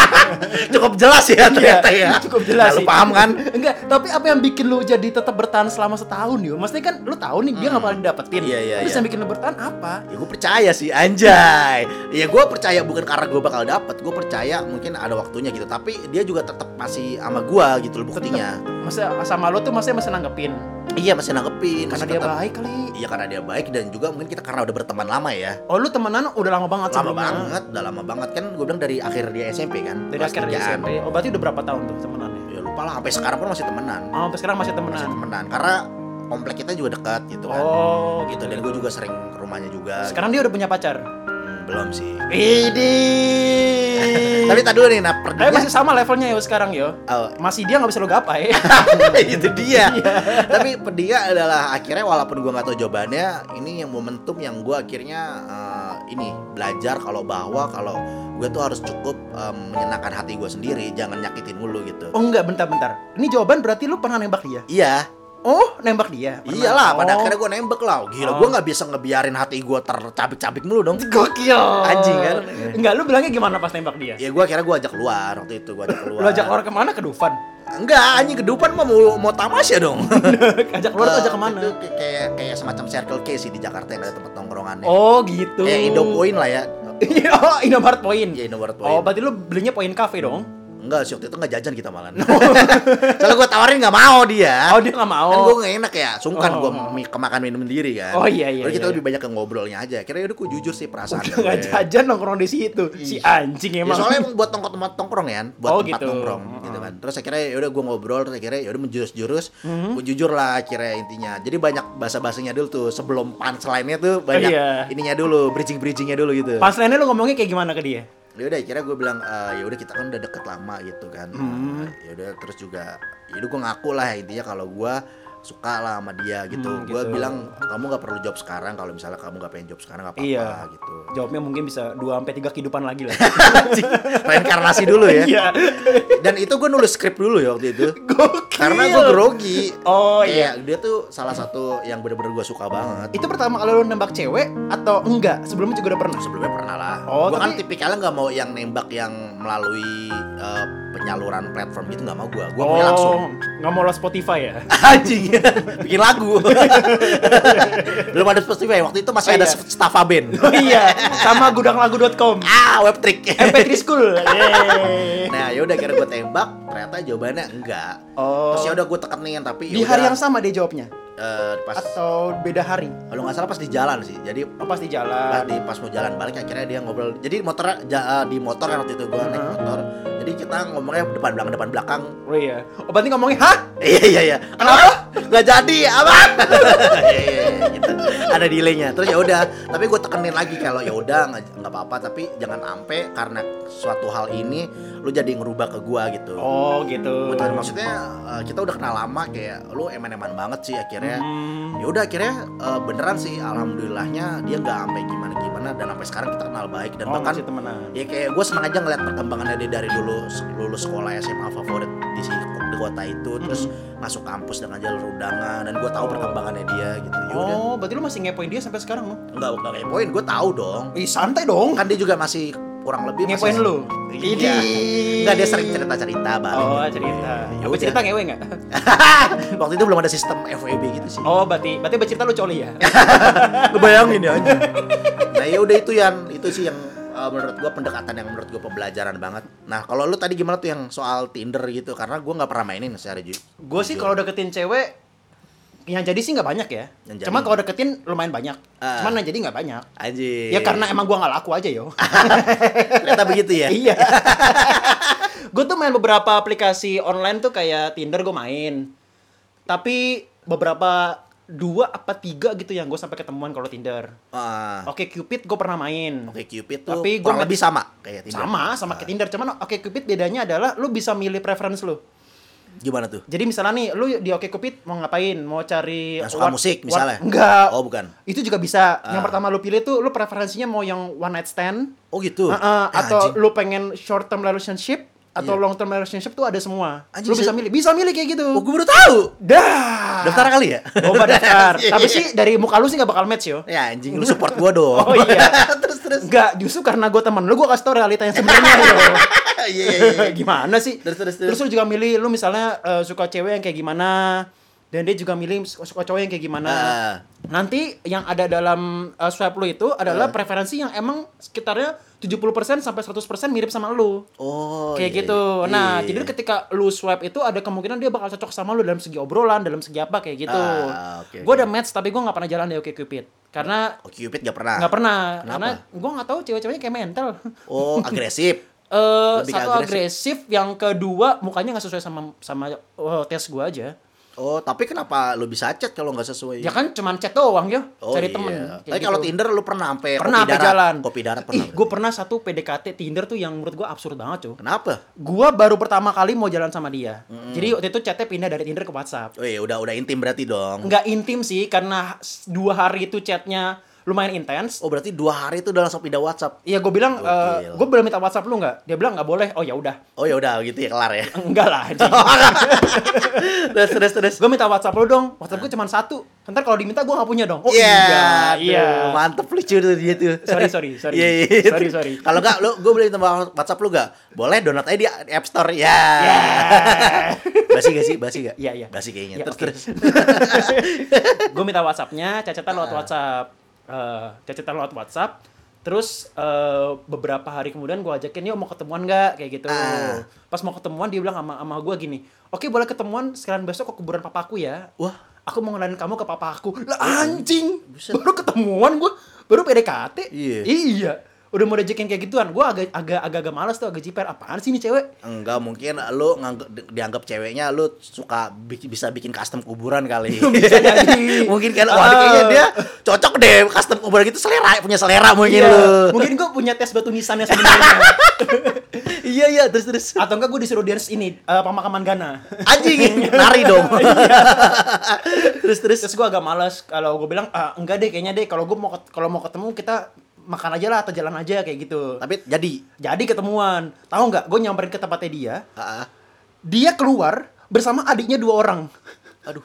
[SPEAKER 4] cukup jelas ya ternyata ya.
[SPEAKER 3] Iya, Cukup jelas.
[SPEAKER 4] Nah, lu
[SPEAKER 3] sih.
[SPEAKER 4] paham kan?
[SPEAKER 3] Enggak, tapi apa yang bikin lu jadi tetap bertahan selama setahun yo? Maksudnya kan lu tahu nih dia nggak paling dapetin.
[SPEAKER 4] Iya, iya,
[SPEAKER 3] Terus
[SPEAKER 4] iya.
[SPEAKER 3] yang bikin lu bertahan apa?
[SPEAKER 4] Ya gue percaya sih anjay. Ya gue percaya bukan karena gue bakal dapet, gue percaya mungkin ada waktunya gitu. Tapi dia juga tetap masih sama gue gitu loh buktinya.
[SPEAKER 3] Maksudnya sama lu tuh maksudnya masih nanggepin.
[SPEAKER 4] Iya masih nanggepin,
[SPEAKER 3] Karena
[SPEAKER 4] masih
[SPEAKER 3] dia
[SPEAKER 4] tetap-
[SPEAKER 3] baik kali.
[SPEAKER 4] Iya karena dia baik dan juga mungkin kita karena udah berteman lama ya.
[SPEAKER 3] Oh lu temenan udah lama banget
[SPEAKER 4] Lama
[SPEAKER 3] sebelumnya.
[SPEAKER 4] banget, udah lama banget kan gue bilang dari akhir dia SMP kan.
[SPEAKER 3] Dari
[SPEAKER 4] kelas
[SPEAKER 3] akhir
[SPEAKER 4] tigaan.
[SPEAKER 3] SMP. Oh berarti udah berapa tahun tuh temenannya?
[SPEAKER 4] Ya lupa lah, sampai sekarang pun masih temenan.
[SPEAKER 3] Oh sampai sekarang masih temenan.
[SPEAKER 4] Masih temenan karena komplek kita juga dekat gitu kan.
[SPEAKER 3] Oh
[SPEAKER 4] gitu dan gue juga sering ke rumahnya juga.
[SPEAKER 3] Sekarang dia udah punya pacar.
[SPEAKER 4] Hmm, belum sih.
[SPEAKER 3] Ini.
[SPEAKER 4] Tapi tadi dulu nih, nah
[SPEAKER 3] Tapi
[SPEAKER 4] perginya
[SPEAKER 3] masih sama levelnya yo sekarang yo.
[SPEAKER 4] Oh,
[SPEAKER 3] Masih dia nggak bisa lu gapai.
[SPEAKER 4] itu
[SPEAKER 3] Iya.
[SPEAKER 4] dia. Tapi dia adalah akhirnya walaupun gua nggak tahu jawabannya, ini yang momentum yang gua akhirnya eh, ini belajar kalau bahwa kalau gue tuh harus cukup eh, menyenangkan hati gua sendiri, jangan nyakitin mulu gitu.
[SPEAKER 3] Oh enggak, bentar-bentar. Ini jawaban berarti lu pernah nembak dia?
[SPEAKER 4] Iya,
[SPEAKER 3] Oh, nembak dia? Pernah.
[SPEAKER 4] iyalah. Pada
[SPEAKER 3] Oh.
[SPEAKER 4] akhirnya gua nembak lah.
[SPEAKER 3] Oh.
[SPEAKER 4] Gila, gua nggak bisa ngebiarin hati gua tercabik-cabik mulu dong.
[SPEAKER 3] Gokil.
[SPEAKER 4] Anjing kan?
[SPEAKER 3] Enggak, lu bilangnya gimana pas nembak dia?
[SPEAKER 4] Ya gua akhirnya gua ajak keluar waktu itu, gua ajak keluar.
[SPEAKER 3] Lu ajak keluar kemana? Ke Dufan?
[SPEAKER 4] Enggak, anjing kedupan mah mau mau tamasya dong.
[SPEAKER 3] ajak keluar tuh ajak kemana?
[SPEAKER 4] Eh, Itu kayak- kayak kayak semacam circle K sih di Jakarta yang ada tempat tongkrongannya.
[SPEAKER 3] Oh gitu.
[SPEAKER 4] Kayak Indo Point lah ya.
[SPEAKER 3] Iya, oh, Indomaret Point.
[SPEAKER 4] Iya, Indomaret
[SPEAKER 3] Oh,
[SPEAKER 4] Point. Hmm.
[SPEAKER 3] berarti lu belinya Point Cafe dong?
[SPEAKER 4] Enggak sih waktu itu nggak jajan kita malah. Soalnya gue tawarin nggak mau dia.
[SPEAKER 3] Oh, dia nggak mau.
[SPEAKER 4] Kan gue nggak enak ya, sungkan
[SPEAKER 3] Oh.
[SPEAKER 4] gue kemakan minum sendiri kan.
[SPEAKER 3] Oh, iya, iya,
[SPEAKER 4] Lalu kita
[SPEAKER 3] iya,
[SPEAKER 4] lebih banyak ke ngobrolnya aja. Kira udah gue jujur sih perasaan.
[SPEAKER 3] Udah
[SPEAKER 4] gue.
[SPEAKER 3] nggak jajan nongkrong di situ. Si anjing
[SPEAKER 4] Ya,
[SPEAKER 3] emang.
[SPEAKER 4] soalnya emang buat nongkrong tempat nongkrong ya, buat
[SPEAKER 3] Oh,
[SPEAKER 4] tempat
[SPEAKER 3] gitu.
[SPEAKER 4] nongkrong gitu kan. Terus akhirnya ya udah gue ngobrol, terus akhirnya ya udah menjurus-jurus,
[SPEAKER 3] Mm-hmm.
[SPEAKER 4] gue jujur lah akhirnya intinya. Jadi banyak bahasa-bahasanya dulu tuh sebelum punchline-nya tuh banyak
[SPEAKER 3] iya.
[SPEAKER 4] ininya dulu, bridging-bridgingnya dulu gitu.
[SPEAKER 3] Pas lainnya lu ngomongnya kayak gimana ke dia?
[SPEAKER 4] Ya udah akhirnya gue bilang "Eh, ya udah kita kan udah deket lama gitu kan.
[SPEAKER 3] Hmm.
[SPEAKER 4] Ya udah terus juga ya udah gue ngaku lah intinya kalau gue suka lah sama dia gitu.
[SPEAKER 3] Hmm,
[SPEAKER 4] Gue
[SPEAKER 3] gitu.
[SPEAKER 4] bilang kamu nggak perlu job sekarang kalau misalnya kamu nggak pengen job sekarang nggak apa-apa
[SPEAKER 3] Iya.
[SPEAKER 4] gitu.
[SPEAKER 3] Jawabnya mungkin bisa 2 sampai 3 kehidupan lagi lah.
[SPEAKER 4] Anjing, Reinkarnasi dulu ya.
[SPEAKER 3] Iya.
[SPEAKER 4] Dan itu gue nulis skrip dulu ya waktu itu.
[SPEAKER 3] Gokil.
[SPEAKER 4] Karena gue grogi.
[SPEAKER 3] Oh,
[SPEAKER 4] Kayak Dia tuh salah satu yang bener-bener gue suka banget.
[SPEAKER 3] Itu pertama kali lu nembak cewek atau enggak? Sebelumnya juga udah pernah.
[SPEAKER 4] Sebelumnya pernah lah.
[SPEAKER 3] Oh,
[SPEAKER 4] gue kan
[SPEAKER 3] tapi-
[SPEAKER 4] tipikalnya nggak mau yang nembak yang melalui eh, penyaluran platform gitu nggak mau gue. Gue
[SPEAKER 3] oh,
[SPEAKER 4] punya langsung.
[SPEAKER 3] nggak mau lo Spotify ya?
[SPEAKER 4] Anjing, bikin lagu. Belum ada Spotify waktu itu masih
[SPEAKER 3] Oh,
[SPEAKER 4] ada
[SPEAKER 3] iya.
[SPEAKER 4] Staffa Band.
[SPEAKER 3] Oh iya, sama gudanklagu.com.
[SPEAKER 4] ah, web trick.
[SPEAKER 3] MP3 School. Yeay.
[SPEAKER 4] Nah, yaudah akhirnya gue tembak, ternyata jawabannya enggak.
[SPEAKER 3] Oh.
[SPEAKER 4] Terus yaudah gue tekenin tapi ya
[SPEAKER 3] Di hari yang sama dia jawabnya
[SPEAKER 4] eh, pas
[SPEAKER 3] atau beda hari?
[SPEAKER 4] kalau nggak salah pas di jalan sih. Jadi
[SPEAKER 3] Oh, pasti
[SPEAKER 4] pas
[SPEAKER 3] jalan.
[SPEAKER 4] di pas mau jalan balik akhirnya dia ngobrol jadi motor ja- eh, di motor kan waktu itu gue naik motor jadi kita ngomongnya depan belakang depan belakang
[SPEAKER 3] Oh iya. Oh berarti ngomongnya hah?
[SPEAKER 4] iya iya iya kenapa nggak jadi apa Iya, iya, iya, gitu. ada delaynya terus ya udah tapi gue tekenin lagi kalau ya udah nggak nggak apa-apa tapi jangan ampe karena suatu hal ini lu jadi ngerubah ke gue gitu
[SPEAKER 3] Oh gitu.
[SPEAKER 4] Betul, maksudnya eh, kita udah kenal lama kayak lu eman-eman banget sih akhirnya.
[SPEAKER 3] Hmm.
[SPEAKER 4] Ya udah akhirnya eh, beneran sih alhamdulillahnya dia nggak sampai gimana-gimana dan sampai sekarang kita kenal baik dan
[SPEAKER 3] Oh,
[SPEAKER 4] bahkan
[SPEAKER 3] masih temenan.
[SPEAKER 4] ya kayak gue seneng aja ngeliat perkembangannya dia dari dulu se- lulus sekolah SMA favorit di si di kota itu
[SPEAKER 3] Hmm.
[SPEAKER 4] terus masuk kampus dengan jalur undangan dan gue tahu
[SPEAKER 3] Oh.
[SPEAKER 4] perkembangannya dia gitu. Ya udah,
[SPEAKER 3] Oh, berarti lu masih ngepoin dia sampai sekarang lu?
[SPEAKER 4] nggak nggak ngepoin gue tahu dong.
[SPEAKER 3] Ih, santai dong.
[SPEAKER 4] Kan dia juga masih kurang lebih masih-
[SPEAKER 3] Ngepoin lu.
[SPEAKER 4] Iya. Nggak dia sering cerita-cerita balik.
[SPEAKER 3] Oh,
[SPEAKER 4] gitu.
[SPEAKER 3] cerita.
[SPEAKER 4] Ya
[SPEAKER 3] Tapi
[SPEAKER 4] udah. Ah!
[SPEAKER 3] cerita ngewe enggak?
[SPEAKER 4] Waktu itu belum ada sistem FWB gitu sih.
[SPEAKER 3] Oh, berarti berarti bercerita lu coli ya?
[SPEAKER 4] Lu bayangin ya anjing. Nah, ya udah itu Yan, itu sih yang uh, menurut gua pendekatan yang menurut gua pembelajaran banget. Nah, kalau lu tadi gimana tuh yang soal Tinder gitu? Karena gua nggak pernah mainin secara ju-
[SPEAKER 3] Gue sih
[SPEAKER 4] jujur.
[SPEAKER 3] kalau deketin cewek yang jadi sih nggak banyak ya.
[SPEAKER 4] Yang jadi.
[SPEAKER 3] Cuma kalau deketin lumayan banyak.
[SPEAKER 4] Ah.
[SPEAKER 3] Cuman yang jadi nggak banyak.
[SPEAKER 4] anjing.
[SPEAKER 3] Ya karena emang gua nggak laku aja yo.
[SPEAKER 4] ternyata begitu ya.
[SPEAKER 3] iya. gue tuh main beberapa aplikasi online tuh kayak Tinder gue main. Tapi beberapa dua apa tiga gitu yang gue sampai ketemuan kalau Tinder.
[SPEAKER 4] Ah,
[SPEAKER 3] Oke Cupid gue pernah main.
[SPEAKER 4] Oke ya. Ah. Cupid tuh
[SPEAKER 3] Tapi
[SPEAKER 4] Tapi
[SPEAKER 3] gua
[SPEAKER 4] kurang
[SPEAKER 3] nggak-
[SPEAKER 4] lebih sama kayak Tinder. Eh,
[SPEAKER 3] Sama sama kayak Tinder. Cuman Oke Cupid bedanya adalah lu bisa milih preference lu.
[SPEAKER 4] Gimana tuh?
[SPEAKER 3] Jadi misalnya nih lu di Oke Cupid mau ngapain? Mau cari
[SPEAKER 4] Yang suka
[SPEAKER 3] one-
[SPEAKER 4] musik
[SPEAKER 3] one-
[SPEAKER 4] misalnya?
[SPEAKER 3] Enggak.
[SPEAKER 4] Oh, bukan.
[SPEAKER 3] Itu juga bisa. Yang
[SPEAKER 4] Ah.
[SPEAKER 3] pertama lu pilih tuh lu preferensinya mau yang one night stand
[SPEAKER 4] Oh gitu.
[SPEAKER 3] Ah, ah.
[SPEAKER 4] Eh,
[SPEAKER 3] atau
[SPEAKER 4] anjing.
[SPEAKER 3] lu pengen short term relationship atau
[SPEAKER 4] Iya.
[SPEAKER 3] long term relationship tuh ada semua.
[SPEAKER 4] Anjing,
[SPEAKER 3] lu bisa
[SPEAKER 4] saya-
[SPEAKER 3] milih. Bisa milih kayak gitu.
[SPEAKER 4] Oh, gua baru tahu.
[SPEAKER 3] Dah.
[SPEAKER 4] Daftar kali ya?
[SPEAKER 3] Boba Ah. Oh, daftar.
[SPEAKER 4] Iya,
[SPEAKER 3] Tapi
[SPEAKER 4] iya.
[SPEAKER 3] sih dari muka lu sih gak bakal match yo.
[SPEAKER 4] Ya anjing lu support gua dong.
[SPEAKER 3] Oh, iya.
[SPEAKER 4] terus terus.
[SPEAKER 3] Enggak, justru karena gue temen lu gue kasih tau realita yang sebenarnya yo.
[SPEAKER 4] Iya iya iya.
[SPEAKER 3] gimana sih?
[SPEAKER 4] Terus, terus, terus.
[SPEAKER 3] lu juga milih lu misalnya eh, suka cewek yang kayak gimana dan dia juga milih su- suka cowok yang kayak gimana.
[SPEAKER 4] Ah.
[SPEAKER 3] Nanti yang ada dalam eh, swipe lu itu
[SPEAKER 4] Ah.
[SPEAKER 3] adalah preferensi yang emang sekitarnya 70% sampai 100% mirip sama lu.
[SPEAKER 4] Oh.
[SPEAKER 3] kayak
[SPEAKER 4] iya,
[SPEAKER 3] gitu.
[SPEAKER 4] iya.
[SPEAKER 3] Nah,
[SPEAKER 4] Iya.
[SPEAKER 3] jadi ketika lu swipe itu ada kemungkinan dia bakal cocok sama lu dalam segi obrolan, dalam segi apa kayak gitu.
[SPEAKER 4] Ah, oke,
[SPEAKER 3] Gue
[SPEAKER 4] oke.
[SPEAKER 3] udah match tapi gue nggak pernah jalan di OkCupid karena
[SPEAKER 4] Oh, Cupid nggak pernah.
[SPEAKER 3] nggak pernah
[SPEAKER 4] Kenapa?
[SPEAKER 3] karena gue nggak tahu cewek-ceweknya kayak mental.
[SPEAKER 4] Oh, agresif.
[SPEAKER 3] Eh
[SPEAKER 4] Lebih ke
[SPEAKER 3] satu agresif. yang kedua mukanya nggak sesuai sama sama eh, tes gue aja.
[SPEAKER 4] Oh, tapi kenapa lu bisa chat kalau nggak sesuai?
[SPEAKER 3] Ya kan cuman chat doang ya,
[SPEAKER 4] Iya. Oh,
[SPEAKER 3] cari
[SPEAKER 4] iya.
[SPEAKER 3] temen. kayak
[SPEAKER 4] Tapi kalau
[SPEAKER 3] gitu.
[SPEAKER 4] Tinder lu pernah sampai
[SPEAKER 3] pernah
[SPEAKER 4] kopi
[SPEAKER 3] apa
[SPEAKER 4] darat?
[SPEAKER 3] jalan?
[SPEAKER 4] Kopi darat pernah.
[SPEAKER 3] Ih, gue pernah satu PDKT Tinder tuh yang menurut gue absurd banget cuy.
[SPEAKER 4] Kenapa?
[SPEAKER 3] Gua baru pertama kali mau jalan sama dia. Jadi waktu itu chatnya pindah dari Tinder ke WhatsApp.
[SPEAKER 4] Oh, iya, udah udah intim berarti dong.
[SPEAKER 3] nggak intim sih karena s- dua hari itu chatnya lumayan intens.
[SPEAKER 4] Oh, berarti dua hari itu udah langsung pindah WhatsApp.
[SPEAKER 3] Iya gue bilang
[SPEAKER 4] Gokil.
[SPEAKER 3] gue belum minta WhatsApp lu nggak? Dia bilang nggak boleh. Oh ya udah,
[SPEAKER 4] Oh, ya udah gitu ya kelar ya.
[SPEAKER 3] enggak lah.
[SPEAKER 4] terus terus terus.
[SPEAKER 3] gue minta WhatsApp lu dong. WhatsApp gue cuma satu. Ntar kalau diminta gue nggak punya dong. Oh
[SPEAKER 4] Iya,
[SPEAKER 3] iya.
[SPEAKER 4] aduh, Mantep lucu tuh dia tuh.
[SPEAKER 3] Sorry, sorry, sorry.
[SPEAKER 4] Iya, iya.
[SPEAKER 3] Sorry, sorry.
[SPEAKER 4] Kalau enggak lu gue beli tambah WhatsApp lu enggak? Boleh download aja di App Store. Ya.
[SPEAKER 3] Ya.
[SPEAKER 4] basi gak sih? Basi gak?
[SPEAKER 3] Iya, iya.
[SPEAKER 4] Basi kayaknya.
[SPEAKER 3] Iya,
[SPEAKER 4] terus
[SPEAKER 3] oke.
[SPEAKER 4] terus. Ah.
[SPEAKER 3] gue minta WhatsAppnya, cacatan lewat WhatsApp. Eh, cacatan lewat WhatsApp. Terus eh, beberapa hari kemudian gue ajakin, yuk mau ketemuan nggak kayak gitu.
[SPEAKER 4] Ah.
[SPEAKER 3] Pas mau ketemuan dia bilang sama sama gue gini, oke boleh ketemuan sekalian besok ke kuburan papaku ya.
[SPEAKER 4] Wah. Iya,
[SPEAKER 3] Aku mau ngelain kamu ke papaku. Lah anjing,
[SPEAKER 4] Buset.
[SPEAKER 3] baru ketemuan gue, baru PDKT.
[SPEAKER 4] Iya.
[SPEAKER 3] Iya. Udah mau diajakin kayak gituan, gue agak agak agak agak malas tuh, agak jiper. Apaan sih ini cewek?
[SPEAKER 4] Enggak mungkin lu nganggep- di- dianggap ceweknya lu suka bi- bisa bikin custom kuburan kali.
[SPEAKER 3] Bisa jadi.
[SPEAKER 4] mungkin kan wah kayaknya dia cocok deh custom kuburan gitu selera punya selera mungkin
[SPEAKER 3] Iya,
[SPEAKER 4] lu.
[SPEAKER 3] Mungkin gue punya tes batu nisannya sebenarnya.
[SPEAKER 4] Iya iya terus terus.
[SPEAKER 3] Atau enggak gue disuruh dance ini eh, pemakaman Gana.
[SPEAKER 4] Anjing nari dong.
[SPEAKER 3] Iya. terus terus terus gue agak malas kalau gue bilang "Ah, enggak deh kayaknya deh kalau gue mau ket- kalau mau ketemu kita makan aja lah atau jalan aja kayak gitu.
[SPEAKER 4] Tapi jadi
[SPEAKER 3] Jadi ketemuan. Tahu nggak? Gue nyamperin ke tempatnya dia.
[SPEAKER 4] ah, ah.
[SPEAKER 3] Dia keluar bersama adiknya dua orang.
[SPEAKER 4] aduh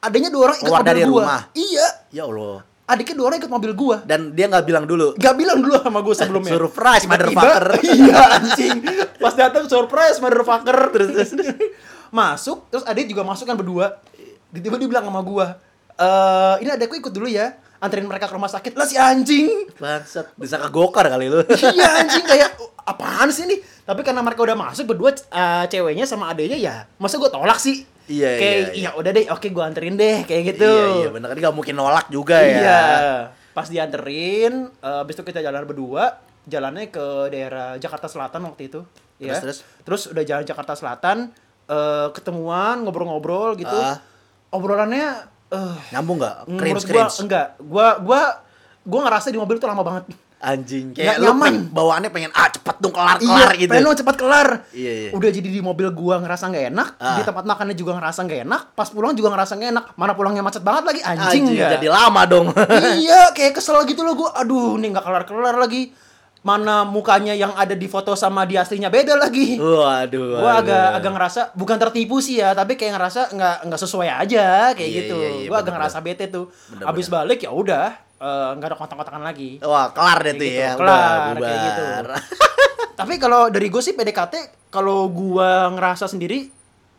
[SPEAKER 3] Adiknya dua orang ikut
[SPEAKER 4] Keluar
[SPEAKER 3] mobil
[SPEAKER 4] dari
[SPEAKER 3] gua.
[SPEAKER 4] rumah.
[SPEAKER 3] Iya.
[SPEAKER 4] ya Allah.
[SPEAKER 3] Adiknya dua orang ikut mobil gua.
[SPEAKER 4] Dan dia nggak bilang dulu.
[SPEAKER 3] Gak bilang dulu sama gue sebelumnya.
[SPEAKER 4] Surprise,
[SPEAKER 3] ya? Tiba-tiba-
[SPEAKER 4] motherfucker.
[SPEAKER 3] Iya, anjing. Pas datang surprise, motherfucker. Terus, terus, terus. Masuk, terus adek juga masuk kan berdua. Tiba-tiba dia bilang sama gue, eh ini adekku ikut dulu ya. Anterin mereka ke rumah sakit. Lah si anjing.
[SPEAKER 4] Bangsat, bisa kegokar kali lu.
[SPEAKER 3] iya anjing kayak apaan sih ini? Tapi karena mereka udah masuk berdua eh, ceweknya sama adeknya ya, masa gue tolak sih?
[SPEAKER 4] Iya,
[SPEAKER 3] Kayak,
[SPEAKER 4] iya, iya.
[SPEAKER 3] "Ya udah deh, oke gue anterin deh kayak gitu.
[SPEAKER 4] Iya, iya benar kan nggak mungkin nolak juga ya.
[SPEAKER 3] Iya. Pas dianterin, eh, abis itu kita jalan berdua, jalannya ke daerah Jakarta Selatan waktu itu. ya.
[SPEAKER 4] Terus, terus?
[SPEAKER 3] udah jalan Jakarta Selatan, eh, ketemuan, ngobrol-ngobrol gitu.
[SPEAKER 4] Ah.
[SPEAKER 3] Obrolannya, eh,
[SPEAKER 4] Nyambung nggak?
[SPEAKER 3] menurut
[SPEAKER 4] Cringe,
[SPEAKER 3] gua
[SPEAKER 4] cringe.
[SPEAKER 3] enggak. Gua, gua, gua ngerasa di mobil tuh lama banget.
[SPEAKER 4] Anjing,
[SPEAKER 3] Nggak
[SPEAKER 4] kayak lu
[SPEAKER 3] nyaman. Iya,
[SPEAKER 4] pengen- bawaannya pengen ah cepet dong kelar-kelar gitu.
[SPEAKER 3] pengen dong cepat kelar.
[SPEAKER 4] Iya, iya.
[SPEAKER 3] Udah jadi di mobil gua ngerasa nggak enak,
[SPEAKER 4] Ah.
[SPEAKER 3] di tempat makannya juga ngerasa nggak enak, pas pulang juga ngerasa nggak enak. Mana pulangnya macet banget lagi, anjing, ya.
[SPEAKER 4] Anjing,
[SPEAKER 3] nggak?
[SPEAKER 4] jadi lama dong.
[SPEAKER 3] iya kayak kesel gitu loh gue aduh nih nggak kelar kelar lagi mana mukanya yang ada di foto sama di aslinya beda lagi
[SPEAKER 4] Oh, Waduh.
[SPEAKER 3] gue agak agak ngerasa bukan tertipu sih ya tapi kayak ngerasa nggak nggak sesuai aja kayak
[SPEAKER 4] Iya,
[SPEAKER 3] gitu
[SPEAKER 4] iya,
[SPEAKER 3] gue
[SPEAKER 4] iya,
[SPEAKER 3] agak
[SPEAKER 4] bener-bener.
[SPEAKER 3] ngerasa bete tuh
[SPEAKER 4] Bener-bener. Oh.
[SPEAKER 3] abis balik ya udah eh, nggak ada kontak-kontakan lagi
[SPEAKER 4] Wah, kelar deh
[SPEAKER 3] Kayak
[SPEAKER 4] tuh
[SPEAKER 3] gitu,
[SPEAKER 4] ya.
[SPEAKER 3] kelar,
[SPEAKER 4] Udah,
[SPEAKER 3] kayak gitu.
[SPEAKER 4] bubar.
[SPEAKER 3] tapi kalau dari gue sih PDKT kalau gue ngerasa sendiri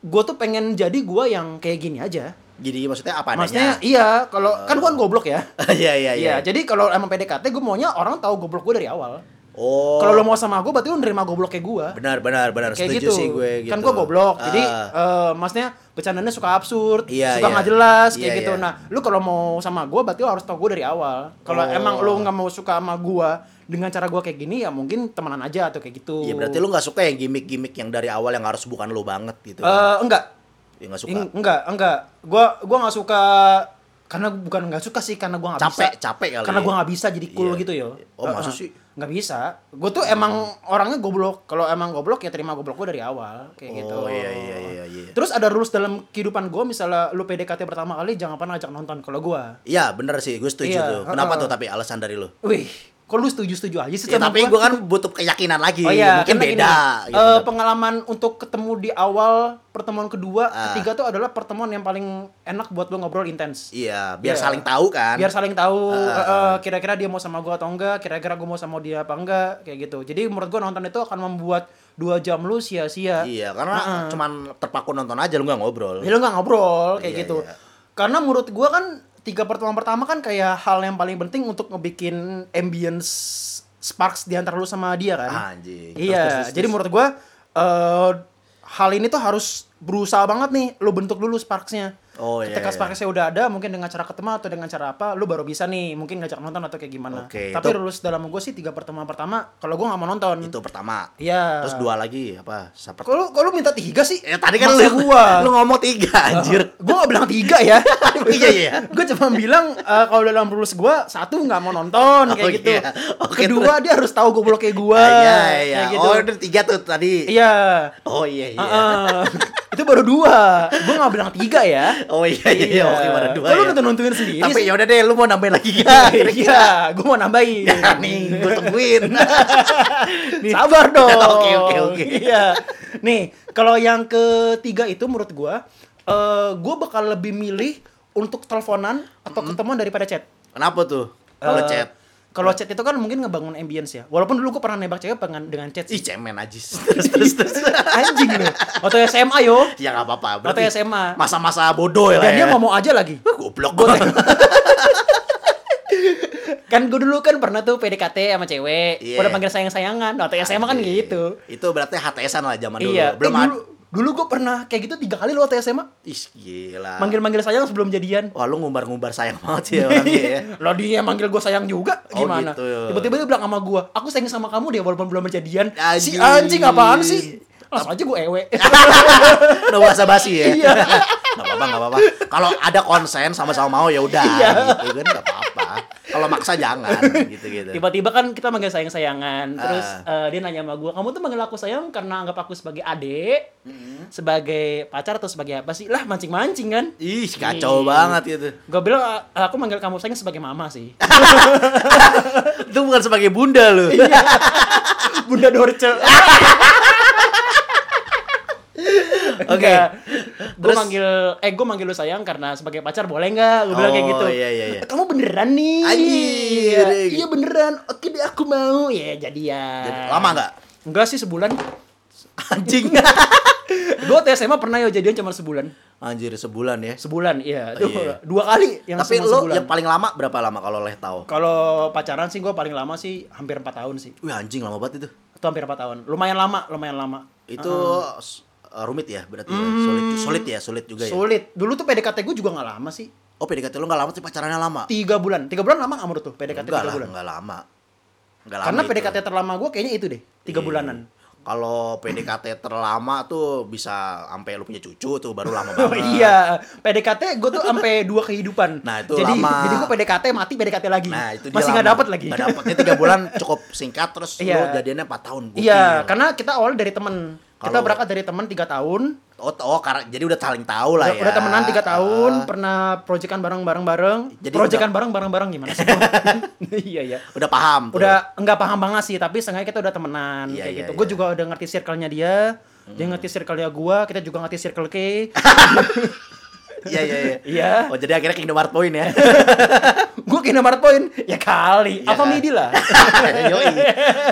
[SPEAKER 3] gue tuh pengen jadi gue yang kayak gini aja
[SPEAKER 4] Jadi maksudnya apa
[SPEAKER 3] maksudnya
[SPEAKER 4] adanya?
[SPEAKER 3] iya kalau kan gue kan goblok ya
[SPEAKER 4] Iya, iya, iya.
[SPEAKER 3] Iya, jadi kalau emang PDKT gue maunya orang tahu goblok gue dari awal.
[SPEAKER 4] Oh.
[SPEAKER 3] Kalau lo mau sama gue berarti lo nerima gobloknya gue.
[SPEAKER 4] benar benar benar
[SPEAKER 3] Kayak
[SPEAKER 4] setuju
[SPEAKER 3] gitu.
[SPEAKER 4] sih gue gitu.
[SPEAKER 3] Kan gue goblok. Jadi eh
[SPEAKER 4] Ah.
[SPEAKER 3] maksudnya bercandanya suka absurd,
[SPEAKER 4] Iya,
[SPEAKER 3] suka
[SPEAKER 4] iya.
[SPEAKER 3] nggak jelas kayak
[SPEAKER 4] Iya,
[SPEAKER 3] gitu.
[SPEAKER 4] iya.
[SPEAKER 3] Nah, lu kalau mau sama gue berarti lo harus tahu gue dari awal. Kalau
[SPEAKER 4] Oh.
[SPEAKER 3] emang lo nggak mau suka sama gue dengan cara gue kayak gini ya mungkin temenan aja atau kayak gitu.
[SPEAKER 4] Iya berarti lu nggak suka yang gimmick-gimmick yang dari awal yang harus bukan lu banget gitu. kan?
[SPEAKER 3] Eh, enggak.
[SPEAKER 4] ya nggak suka.
[SPEAKER 3] Eng- enggak, enggak. Gua gua nggak suka karena bukan nggak suka sih karena gua nggak bisa.
[SPEAKER 4] Capek, capek kali
[SPEAKER 3] Karena
[SPEAKER 4] ya.
[SPEAKER 3] gua nggak bisa jadi cool
[SPEAKER 4] Iya.
[SPEAKER 3] gitu ya.
[SPEAKER 4] Oh, masa sih? Hmm.
[SPEAKER 3] Nggak bisa. Gua tuh emang orangnya goblok. Kalau emang goblok ya terima goblok gua dari awal kayak gitu.
[SPEAKER 4] Oh iya iya iya iya.
[SPEAKER 3] Terus ada rules dalam kehidupan gua misalnya lu PDKT pertama kali jangan pernah ajak nonton kalau gua.
[SPEAKER 4] Iya benar sih gue setuju
[SPEAKER 3] Iya,
[SPEAKER 4] tuh. Kenapa
[SPEAKER 3] heeh.
[SPEAKER 4] tuh tapi alasan dari lu?
[SPEAKER 3] Wih, kok lu setuju-setuju aja sih
[SPEAKER 4] Ya,
[SPEAKER 3] sama
[SPEAKER 4] tapi gue kan butuh keyakinan lagi.
[SPEAKER 3] Oh iya,
[SPEAKER 4] Mungkin
[SPEAKER 3] karena gini,
[SPEAKER 4] beda. gitu.
[SPEAKER 3] eh, pengalaman untuk ketemu di awal pertemuan kedua,
[SPEAKER 4] Ah.
[SPEAKER 3] ketiga tuh adalah pertemuan yang paling enak buat lu ngobrol intens.
[SPEAKER 4] iya, biar
[SPEAKER 3] Iya.
[SPEAKER 4] saling tahu kan.
[SPEAKER 3] biar saling tahu
[SPEAKER 4] Ah.
[SPEAKER 3] eh, eh, kira-kira dia mau sama gua atau enggak kira-kira gua mau sama dia apa enggak kayak gitu jadi menurut gua nonton itu akan membuat dua jam lu sia-sia
[SPEAKER 4] Iya, karena cuman terpaku nonton aja lu nggak ngobrol.
[SPEAKER 3] jadi lu nggak ngobrol kayak
[SPEAKER 4] Iya,
[SPEAKER 3] gitu
[SPEAKER 4] iya.
[SPEAKER 3] karena menurut gua kan tiga pertemuan pertama kan kayak hal yang paling penting untuk ngebikin ambience sparks di antara lu sama dia kan
[SPEAKER 4] Anjing. Terus,
[SPEAKER 3] iya
[SPEAKER 4] terus, terus,
[SPEAKER 3] jadi
[SPEAKER 4] terus.
[SPEAKER 3] menurut gua eh, hal ini tuh harus berusaha banget nih lu bentuk dulu sparksnya
[SPEAKER 4] Oh, iya,
[SPEAKER 3] ketika
[SPEAKER 4] iya.
[SPEAKER 3] sparksnya udah ada mungkin dengan cara ketemu atau dengan cara apa lu baru bisa nih mungkin ngajak nonton atau kayak gimana
[SPEAKER 4] Oke,
[SPEAKER 3] tapi
[SPEAKER 4] itu-
[SPEAKER 3] lulus dalam gue sih tiga pertemuan pertama kalau gua nggak mau nonton
[SPEAKER 4] itu pertama.
[SPEAKER 3] iya
[SPEAKER 4] Terus dua lagi apa? Seperti
[SPEAKER 3] kalau kalau minta tiga sih
[SPEAKER 4] Ya tadi kan
[SPEAKER 3] Masa
[SPEAKER 4] lu
[SPEAKER 3] gua
[SPEAKER 4] lu ngomong tiga anjir.
[SPEAKER 3] gue gak bilang tiga ya
[SPEAKER 4] Iya, iya.
[SPEAKER 3] gue cuma bilang eh, kalau dalam rules gue satu nggak mau nonton kayak
[SPEAKER 4] Oh,
[SPEAKER 3] gitu
[SPEAKER 4] iya. Oke,
[SPEAKER 3] kedua dia harus tahu goblok kayak gue
[SPEAKER 4] iya, iya.
[SPEAKER 3] kayak gitu
[SPEAKER 4] Oh, itu tiga tuh tadi.
[SPEAKER 3] iya
[SPEAKER 4] Oh iya iya.
[SPEAKER 3] Heeh. itu baru dua gue nggak bilang tiga ya
[SPEAKER 4] Oh iya iya, iya. oke mana dua.
[SPEAKER 3] Kok lu
[SPEAKER 4] ya?
[SPEAKER 3] nonton nontonin sendiri
[SPEAKER 4] Tapi
[SPEAKER 3] sih?
[SPEAKER 4] ya udah deh, lu mau nambahin lagi gak? Kira-kira.
[SPEAKER 3] iya gue mau nambahin
[SPEAKER 4] Ya, nih, gue tungguin.
[SPEAKER 3] sabar dong
[SPEAKER 4] Oke, oke, oke.
[SPEAKER 3] iya nih kalau yang ketiga itu menurut gue eh gue bakal lebih milih untuk teleponan atau ketemuan daripada chat
[SPEAKER 4] Kenapa tuh?
[SPEAKER 3] Eh,
[SPEAKER 4] Kalau chat.
[SPEAKER 3] Kalau chat itu kan mungkin ngebangun ambience ya. Walaupun dulu gue pernah nembak cewek pengen dengan chat
[SPEAKER 4] Ih,
[SPEAKER 3] sih.
[SPEAKER 4] cemen ajis. Terus terus terus.
[SPEAKER 3] Anjing lu. Waktu SMA yo.
[SPEAKER 4] ya nggak apa-apa.
[SPEAKER 3] Waktu
[SPEAKER 4] berarti
[SPEAKER 3] SMA.
[SPEAKER 4] Masa-masa bodoh ya. lah
[SPEAKER 3] Dan dia
[SPEAKER 4] ya.
[SPEAKER 3] ngomong aja lagi.
[SPEAKER 4] Goblok gue.
[SPEAKER 3] kan gue dulu kan pernah tuh PDKT sama cewek
[SPEAKER 4] Iya.
[SPEAKER 3] udah panggil sayang sayangan waktu SMA kan
[SPEAKER 4] Anjing.
[SPEAKER 3] gitu
[SPEAKER 4] Itu berarti HTSan lah zaman dulu.
[SPEAKER 3] iya
[SPEAKER 4] Belum
[SPEAKER 3] Eh,
[SPEAKER 4] ada.
[SPEAKER 3] dulu, dulu gue pernah kayak gitu tiga kali loh waktu SMA
[SPEAKER 4] Ih, gila.
[SPEAKER 3] manggil-manggil sayang sebelum jadian
[SPEAKER 4] Wah, lu ngumbar-ngumbar sayang banget sih orangnya ya.
[SPEAKER 3] Lah dia yang manggil gue sayang juga
[SPEAKER 4] Oh,
[SPEAKER 3] gimana?
[SPEAKER 4] gitu.
[SPEAKER 3] Tiba-tiba dia bilang sama gue, aku sayang sama kamu deh walaupun belum berjadian. Si
[SPEAKER 4] Anjing.
[SPEAKER 3] anjing apaan sih? Langsung aja gue ewe.
[SPEAKER 4] Udah bahasa basi ya.
[SPEAKER 3] Iya.
[SPEAKER 4] Gak apa-apa, gak apa-apa. Kalau ada konsen sama-sama mau ya udah
[SPEAKER 3] Iya.
[SPEAKER 4] gitu kan gak apa-apa. Kalau maksa jangan gitu-gitu.
[SPEAKER 3] Tiba-tiba kan kita manggil sayang-sayangan. Terus
[SPEAKER 4] Gitu. Ah.
[SPEAKER 3] eh, dia nanya sama gue, kamu tuh manggil aku sayang karena anggap aku sebagai adik, sebagai pacar atau sebagai apa sih? Lah mancing-mancing kan?
[SPEAKER 4] Ih, kacau banget gitu.
[SPEAKER 3] Gue bilang "Eh, aku manggil kamu sayang sebagai mama sih.
[SPEAKER 4] Itu bukan sebagai bunda lu.
[SPEAKER 3] Iya. Bunda Dorce.
[SPEAKER 4] Oke.
[SPEAKER 3] Oke. Gue
[SPEAKER 4] Terus-
[SPEAKER 3] manggil eh gue manggil lu sayang karena sebagai pacar boleh nggak? Gue bilang kayak
[SPEAKER 4] Oh,
[SPEAKER 3] gitu.
[SPEAKER 4] iya, iya, iya.
[SPEAKER 3] Kamu beneran nih.
[SPEAKER 4] Anjir.
[SPEAKER 3] Iya, Iya beneran. Oke deh aku mau. Ya jadi ya.
[SPEAKER 4] Jadi, lama nggak?
[SPEAKER 3] Enggak sih sebulan.
[SPEAKER 4] Anjing.
[SPEAKER 3] Gue waktu SMA pernah ya jadian cuma sebulan.
[SPEAKER 4] Anjir sebulan ya.
[SPEAKER 3] Sebulan, iya.
[SPEAKER 4] Oh,
[SPEAKER 3] Tuh,
[SPEAKER 4] iya.
[SPEAKER 3] Dua kali yang
[SPEAKER 4] Tapi
[SPEAKER 3] cuma
[SPEAKER 4] lu ya
[SPEAKER 3] sebulan.
[SPEAKER 4] yang paling lama berapa lama kalau leh tahu?
[SPEAKER 3] Kalau pacaran sih gue paling lama sih hampir 4 tahun sih.
[SPEAKER 4] Wih anjing lama banget itu.
[SPEAKER 3] Atau hampir 4 tahun. Lumayan lama, lumayan lama.
[SPEAKER 4] Itu s- uh, rumit ya berarti ya?
[SPEAKER 3] Hmm.
[SPEAKER 4] sulit sulit ya sulit juga ya.
[SPEAKER 3] Sulit. Dulu tuh PDKT gue juga nggak lama sih.
[SPEAKER 4] Oh PDKT lu nggak lama sih pacarannya lama?
[SPEAKER 3] Tiga bulan. Tiga bulan lama nggak menurut tuh PDKT
[SPEAKER 4] Enggak
[SPEAKER 3] tiga
[SPEAKER 4] lah
[SPEAKER 3] bulan?
[SPEAKER 4] nggak lama. Nggak lama
[SPEAKER 3] Karena
[SPEAKER 4] itu.
[SPEAKER 3] PDKT terlama gue kayaknya itu deh, tiga
[SPEAKER 4] Iya.
[SPEAKER 3] bulanan.
[SPEAKER 4] Kalau PDKT terlama tuh bisa sampai lu punya cucu tuh baru lama
[SPEAKER 3] Oh
[SPEAKER 4] banget.
[SPEAKER 3] iya, PDKT gue tuh sampai dua kehidupan.
[SPEAKER 4] Nah, itu
[SPEAKER 3] jadi,
[SPEAKER 4] lama.
[SPEAKER 3] Jadi gue PDKT mati PDKT lagi.
[SPEAKER 4] Nah itu dia
[SPEAKER 3] masih nggak
[SPEAKER 4] lama.
[SPEAKER 3] dapet lagi.
[SPEAKER 4] Nggak dapetnya tiga bulan cukup singkat terus
[SPEAKER 3] Iya.
[SPEAKER 4] lu jadiannya 4 tahun. Gokil.
[SPEAKER 3] Iya, karena kita awal dari temen. Kita
[SPEAKER 4] Kalau-
[SPEAKER 3] berangkat dari temen tiga tahun.
[SPEAKER 4] Oh, oh karena jadi udah saling tahu lah
[SPEAKER 3] udah,
[SPEAKER 4] ya.
[SPEAKER 3] udah temenan tiga tahun,
[SPEAKER 4] Ah.
[SPEAKER 3] pernah proyekan bareng bareng bareng.
[SPEAKER 4] Jadi
[SPEAKER 3] Proyekan bareng bareng bareng gimana sih? iya iya.
[SPEAKER 4] udah paham. tuh.
[SPEAKER 3] Udah nggak paham banget sih, tapi setengah kita udah temenan kayak
[SPEAKER 4] Iya, iya,
[SPEAKER 3] gitu.
[SPEAKER 4] iya. Hmm.
[SPEAKER 3] Gue juga udah ngerti circle-nya dia. Dia ngerti circle-nya gue, kita juga ngerti circle K.
[SPEAKER 4] Iya iya iya.
[SPEAKER 3] Iya.
[SPEAKER 4] Oh jadi akhirnya Kingdom Hearts Point ya.
[SPEAKER 3] gue kena mark point ya kali
[SPEAKER 4] Iya
[SPEAKER 3] apa
[SPEAKER 4] kan?
[SPEAKER 3] midi lah
[SPEAKER 4] Yoi.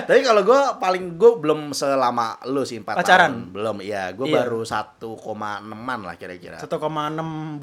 [SPEAKER 4] Tapi kalau gue paling gue belum selama lu sih 4
[SPEAKER 3] Pacaran?
[SPEAKER 4] tahun. Belum, iya. Gue
[SPEAKER 3] Iya.
[SPEAKER 4] baru 1,6an lah kira-kira. Oh, iya.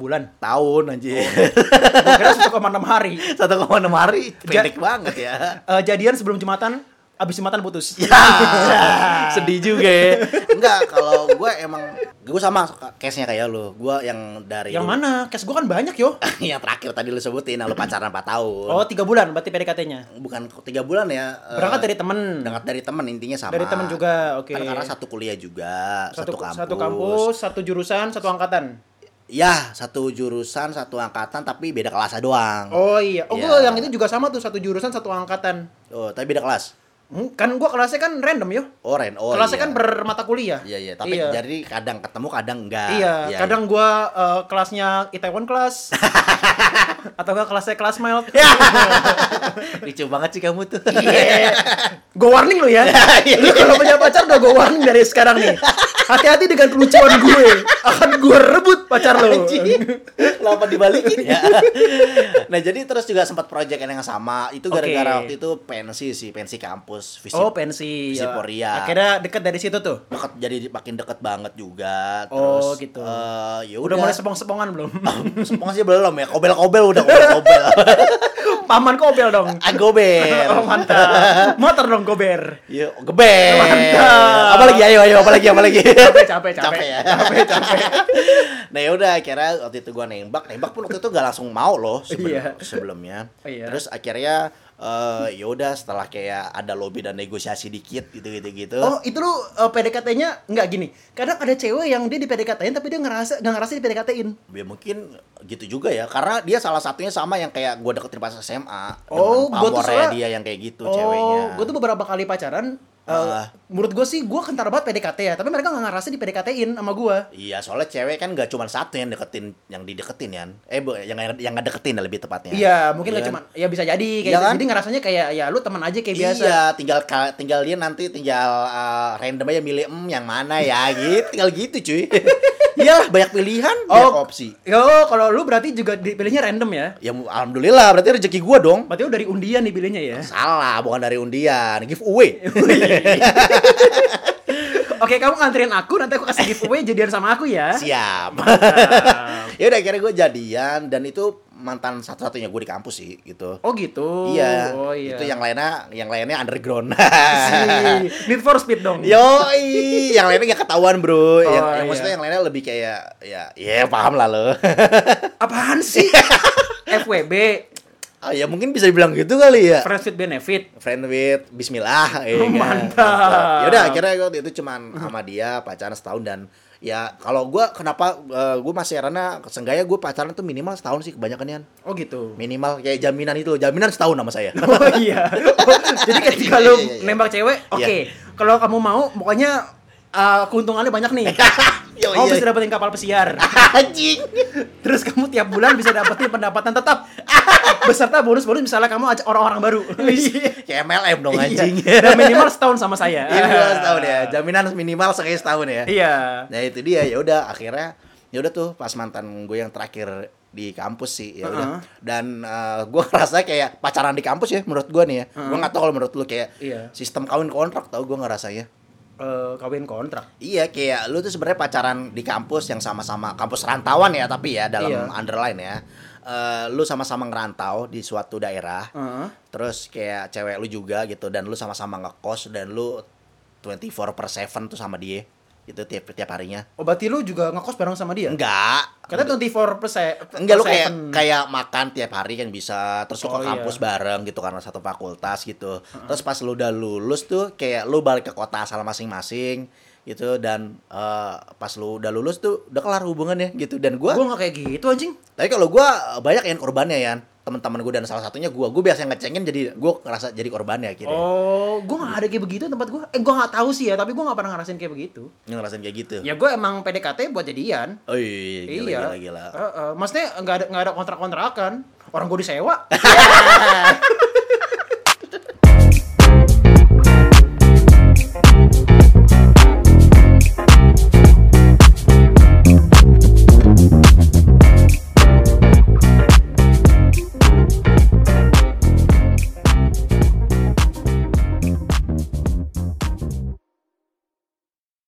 [SPEAKER 3] 1,6 bulan
[SPEAKER 4] Tahun anjir.
[SPEAKER 3] gue kira 1,6 hari
[SPEAKER 4] 1,6 hari
[SPEAKER 3] Ja-
[SPEAKER 4] pendek banget ya.
[SPEAKER 3] Eh, jadian sebelum jumatan abis jumatan putus
[SPEAKER 4] Ya,
[SPEAKER 3] Iya.
[SPEAKER 4] sedih juga ya. Enggak, kalau gue emang gue sama case-nya kayak lu. Gue yang dari
[SPEAKER 3] yang mana case gue kan banyak yo
[SPEAKER 4] yang terakhir tadi lu sebutin, nah, lu pacaran 4 tahun.
[SPEAKER 3] oh tiga bulan berarti PDKT-nya
[SPEAKER 4] bukan tiga bulan ya. eh,
[SPEAKER 3] berangkat dari temen
[SPEAKER 4] berangkat dari teman intinya sama. Kan
[SPEAKER 3] Dari teman juga, oke.
[SPEAKER 4] Karena, karena satu kuliah juga, satu, kampus.
[SPEAKER 3] satu kampus satu jurusan satu angkatan
[SPEAKER 4] Ya, satu jurusan, satu angkatan, tapi beda kelas doang.
[SPEAKER 3] oh iya oh gue
[SPEAKER 4] Iya.
[SPEAKER 3] yang itu juga sama tuh satu jurusan satu angkatan
[SPEAKER 4] Oh, tapi beda kelas.
[SPEAKER 3] Hmm, kan gue kelasnya kan random yo
[SPEAKER 4] Oren, oh.
[SPEAKER 3] kelasnya
[SPEAKER 4] iya.
[SPEAKER 3] kan per mata kuliah
[SPEAKER 4] Iya, iya. Tapi jadi ah, kadang ketemu, kadang enggak.
[SPEAKER 3] Iya, kadang gua eh, kelasnya Itaewon kelas atau gak kelasnya kelas mild.
[SPEAKER 4] iya. lucu banget sih kamu tuh. Iya.
[SPEAKER 3] Gue Iya. warning lu ya. lu kalau punya pacar udah gue warning dari sekarang nih. Hati-hati dengan kelucuan gue. Akan gue rebut pacar lu.
[SPEAKER 4] Lama dibalikin ya. Nah, jadi terus juga sempat project yang sama. Itu gara-gara
[SPEAKER 3] Oke.
[SPEAKER 4] waktu itu pensi sih, pensi kampus. Visip-
[SPEAKER 3] Oh, pensi.
[SPEAKER 4] Visip Korea.
[SPEAKER 3] Akhirnya deket dari situ tuh.
[SPEAKER 4] Deket, jadi makin deket banget juga. Terus,
[SPEAKER 3] Oh, gitu.
[SPEAKER 4] eh, ya
[SPEAKER 3] Udah
[SPEAKER 4] udah.
[SPEAKER 3] mulai sepong-sepongan belum?
[SPEAKER 4] Sepong sih belum ya. Kobel-kobel udah kobel-kobel.
[SPEAKER 3] Paman kobel dong.
[SPEAKER 4] Agobel.
[SPEAKER 3] Oh, mantap. Motor dong gober.
[SPEAKER 4] Iya, geber.
[SPEAKER 3] Mantap.
[SPEAKER 4] Apa lagi? Ayo, ayo, apa lagi? Apa lagi?
[SPEAKER 3] Capek, capek, capek.
[SPEAKER 4] capek ya. nah, yaudah akhirnya waktu itu gua nembak, nembak pun waktu itu gak langsung mau loh sebelum-
[SPEAKER 3] Iya.
[SPEAKER 4] sebelumnya.
[SPEAKER 3] Iya.
[SPEAKER 4] Terus akhirnya eh yaudah setelah kayak ada lobby dan negosiasi dikit gitu-gitu gitu.
[SPEAKER 3] Oh itu lu eh, PDKT-nya nggak gini. Kadang ada cewek yang dia di PDKT-in tapi dia ngerasa nggak ngerasa di PDKT-in.
[SPEAKER 4] Ya mungkin gitu juga ya karena dia salah satunya sama yang kayak gua deketin pas SMA.
[SPEAKER 3] Oh,
[SPEAKER 4] Dengan
[SPEAKER 3] gua tuh
[SPEAKER 4] pamornya
[SPEAKER 3] salah-
[SPEAKER 4] dia yang kayak gitu
[SPEAKER 3] Oh,
[SPEAKER 4] ceweknya.
[SPEAKER 3] gue tuh beberapa kali pacaran. eh,
[SPEAKER 4] Ah.
[SPEAKER 3] Menurut gue sih gue kentar banget PDKT ya, tapi mereka nggak ngerasa di PDKT-in sama gue.
[SPEAKER 4] Iya, soalnya cewek kan gak cuma satu yang deketin, yang dideketin ya. Eh, bu- yang yang gak deketin lah lebih tepatnya.
[SPEAKER 3] Iya, mungkin nggak
[SPEAKER 4] Iya kan?
[SPEAKER 3] cuma ya bisa jadi kayak
[SPEAKER 4] Iya
[SPEAKER 3] gitu.
[SPEAKER 4] kan?
[SPEAKER 3] Jadi ngerasanya kayak ya lu teman aja kayak biasa.
[SPEAKER 4] Iya, tinggal ka- tinggal dia nanti tinggal eh, random aja milih em yang mana ya gitu. tinggal gitu cuy. Iyalah banyak pilihan,
[SPEAKER 3] Oh.
[SPEAKER 4] banyak opsi.
[SPEAKER 3] Yo, kalau lu berarti juga dipilihnya random ya.
[SPEAKER 4] Ya mu- alhamdulillah berarti rezeki gua dong.
[SPEAKER 3] Berarti lu dari undian dipilihnya ya.
[SPEAKER 4] Salah, bukan dari undian, giveaway.
[SPEAKER 3] Oke, kamu nganterin aku nanti aku kasih giveaway jadian sama aku ya.
[SPEAKER 4] Siap.
[SPEAKER 3] Mantap.
[SPEAKER 4] ya udah akhirnya gue jadian dan itu mm, mantan satu-satunya gue di kampus sih gitu.
[SPEAKER 3] Oh gitu.
[SPEAKER 4] iya,
[SPEAKER 3] Oh iya.
[SPEAKER 4] Itu yang lainnya yang lainnya underground.
[SPEAKER 3] Si- Need for Speed dong.
[SPEAKER 4] Iya. Yoi, yang lainnya gak ketahuan bro. yang,
[SPEAKER 3] iya.
[SPEAKER 4] yang maksudnya yang lainnya lebih kayak ya, ya paham lah lo.
[SPEAKER 3] Apaan sih?
[SPEAKER 4] Iya.
[SPEAKER 3] FWB,
[SPEAKER 4] oh ya mungkin bisa dibilang gitu kali ya.
[SPEAKER 3] Friends with Benefit.
[SPEAKER 4] Friend with Bismillah. Ya, kan?
[SPEAKER 3] Oh, Mantap.
[SPEAKER 4] Ya udah akhirnya gue itu cuman sama dia pacaran setahun dan ya kalau gue kenapa gue masih karena senggaya gue pacaran tuh minimal setahun sih kebanyakan Yan.
[SPEAKER 3] Oh gitu.
[SPEAKER 4] minimal kayak jaminan itu loh jaminan setahun sama saya
[SPEAKER 3] Oh iya. Oh, Jadi ketika lu
[SPEAKER 4] Iya, iya, iya.
[SPEAKER 3] nembak cewek, oke. Kalau kamu mau, pokoknya eh, keuntungannya banyak nih.
[SPEAKER 4] Yo,
[SPEAKER 3] Kamu
[SPEAKER 4] iya.
[SPEAKER 3] bisa dapetin kapal pesiar.
[SPEAKER 4] anjing
[SPEAKER 3] Terus kamu tiap bulan bisa dapetin pendapatan tetap. Beserta bonus-bonus misalnya kamu ajak orang-orang baru.
[SPEAKER 4] kayak MLM dong Iya. anjing
[SPEAKER 3] Iya. Dan minimal Ah. setahun sama saya.
[SPEAKER 4] minimal setahun ya jaminan minimal sekali setahun ya
[SPEAKER 3] Iya.
[SPEAKER 4] nah itu dia ya udah akhirnya ya udah tuh pas mantan gue yang terakhir di kampus sih ya udah
[SPEAKER 3] Uh-uh.
[SPEAKER 4] dan eh, gue ngerasa kayak pacaran di kampus ya menurut gue nih ya gue nggak tahu kalau menurut lu kayak
[SPEAKER 3] Iya.
[SPEAKER 4] sistem kawin kontrak tau gue ngerasanya
[SPEAKER 3] Eh, kawin kontrak.
[SPEAKER 4] Iya kayak lu tuh sebenarnya pacaran di kampus yang sama-sama kampus rantauan ya tapi ya dalam
[SPEAKER 3] Iya.
[SPEAKER 4] underline ya. Eh, lu sama-sama ngerantau di suatu daerah.
[SPEAKER 3] Heeh.
[SPEAKER 4] Terus kayak cewek lu juga gitu dan lu sama-sama ngekos dan lu 24 per 7 tuh sama dia. Gitu tiap tiap harinya.
[SPEAKER 3] Oh, berarti lu juga ngekos bareng sama dia?
[SPEAKER 4] Enggak.
[SPEAKER 3] Karena 24 persen.
[SPEAKER 4] Enggak lu kayak kayak makan tiap hari kan bisa terus lu
[SPEAKER 3] Oh,
[SPEAKER 4] ke
[SPEAKER 3] iya.
[SPEAKER 4] kampus bareng gitu karena satu fakultas gitu. Terus pas lu udah lulus tuh kayak lu balik ke kota asal masing-masing gitu dan eh, pas lu udah lulus tuh udah kelar hubungannya gitu dan gua
[SPEAKER 3] Gue gak kayak gitu anjing.
[SPEAKER 4] tapi kalau gua banyak yang korbannya ya teman-teman gua dan salah satunya gua gua biasanya ngecengin jadi gua ngerasa jadi korbannya akhirnya
[SPEAKER 3] Oh, gue gak ada kayak begitu tempat gue. Eh, gue gak tahu sih ya, tapi gue gak pernah ngerasain kayak begitu.
[SPEAKER 4] ngerasain kayak gitu
[SPEAKER 3] Ya gue emang PDKT buat jadian.
[SPEAKER 4] oh iya gila
[SPEAKER 3] iya.
[SPEAKER 4] gila, gila.
[SPEAKER 3] Eh, eh, maksudnya nggak ada nggak ada kontrak-kontrakan. Orang gue disewa.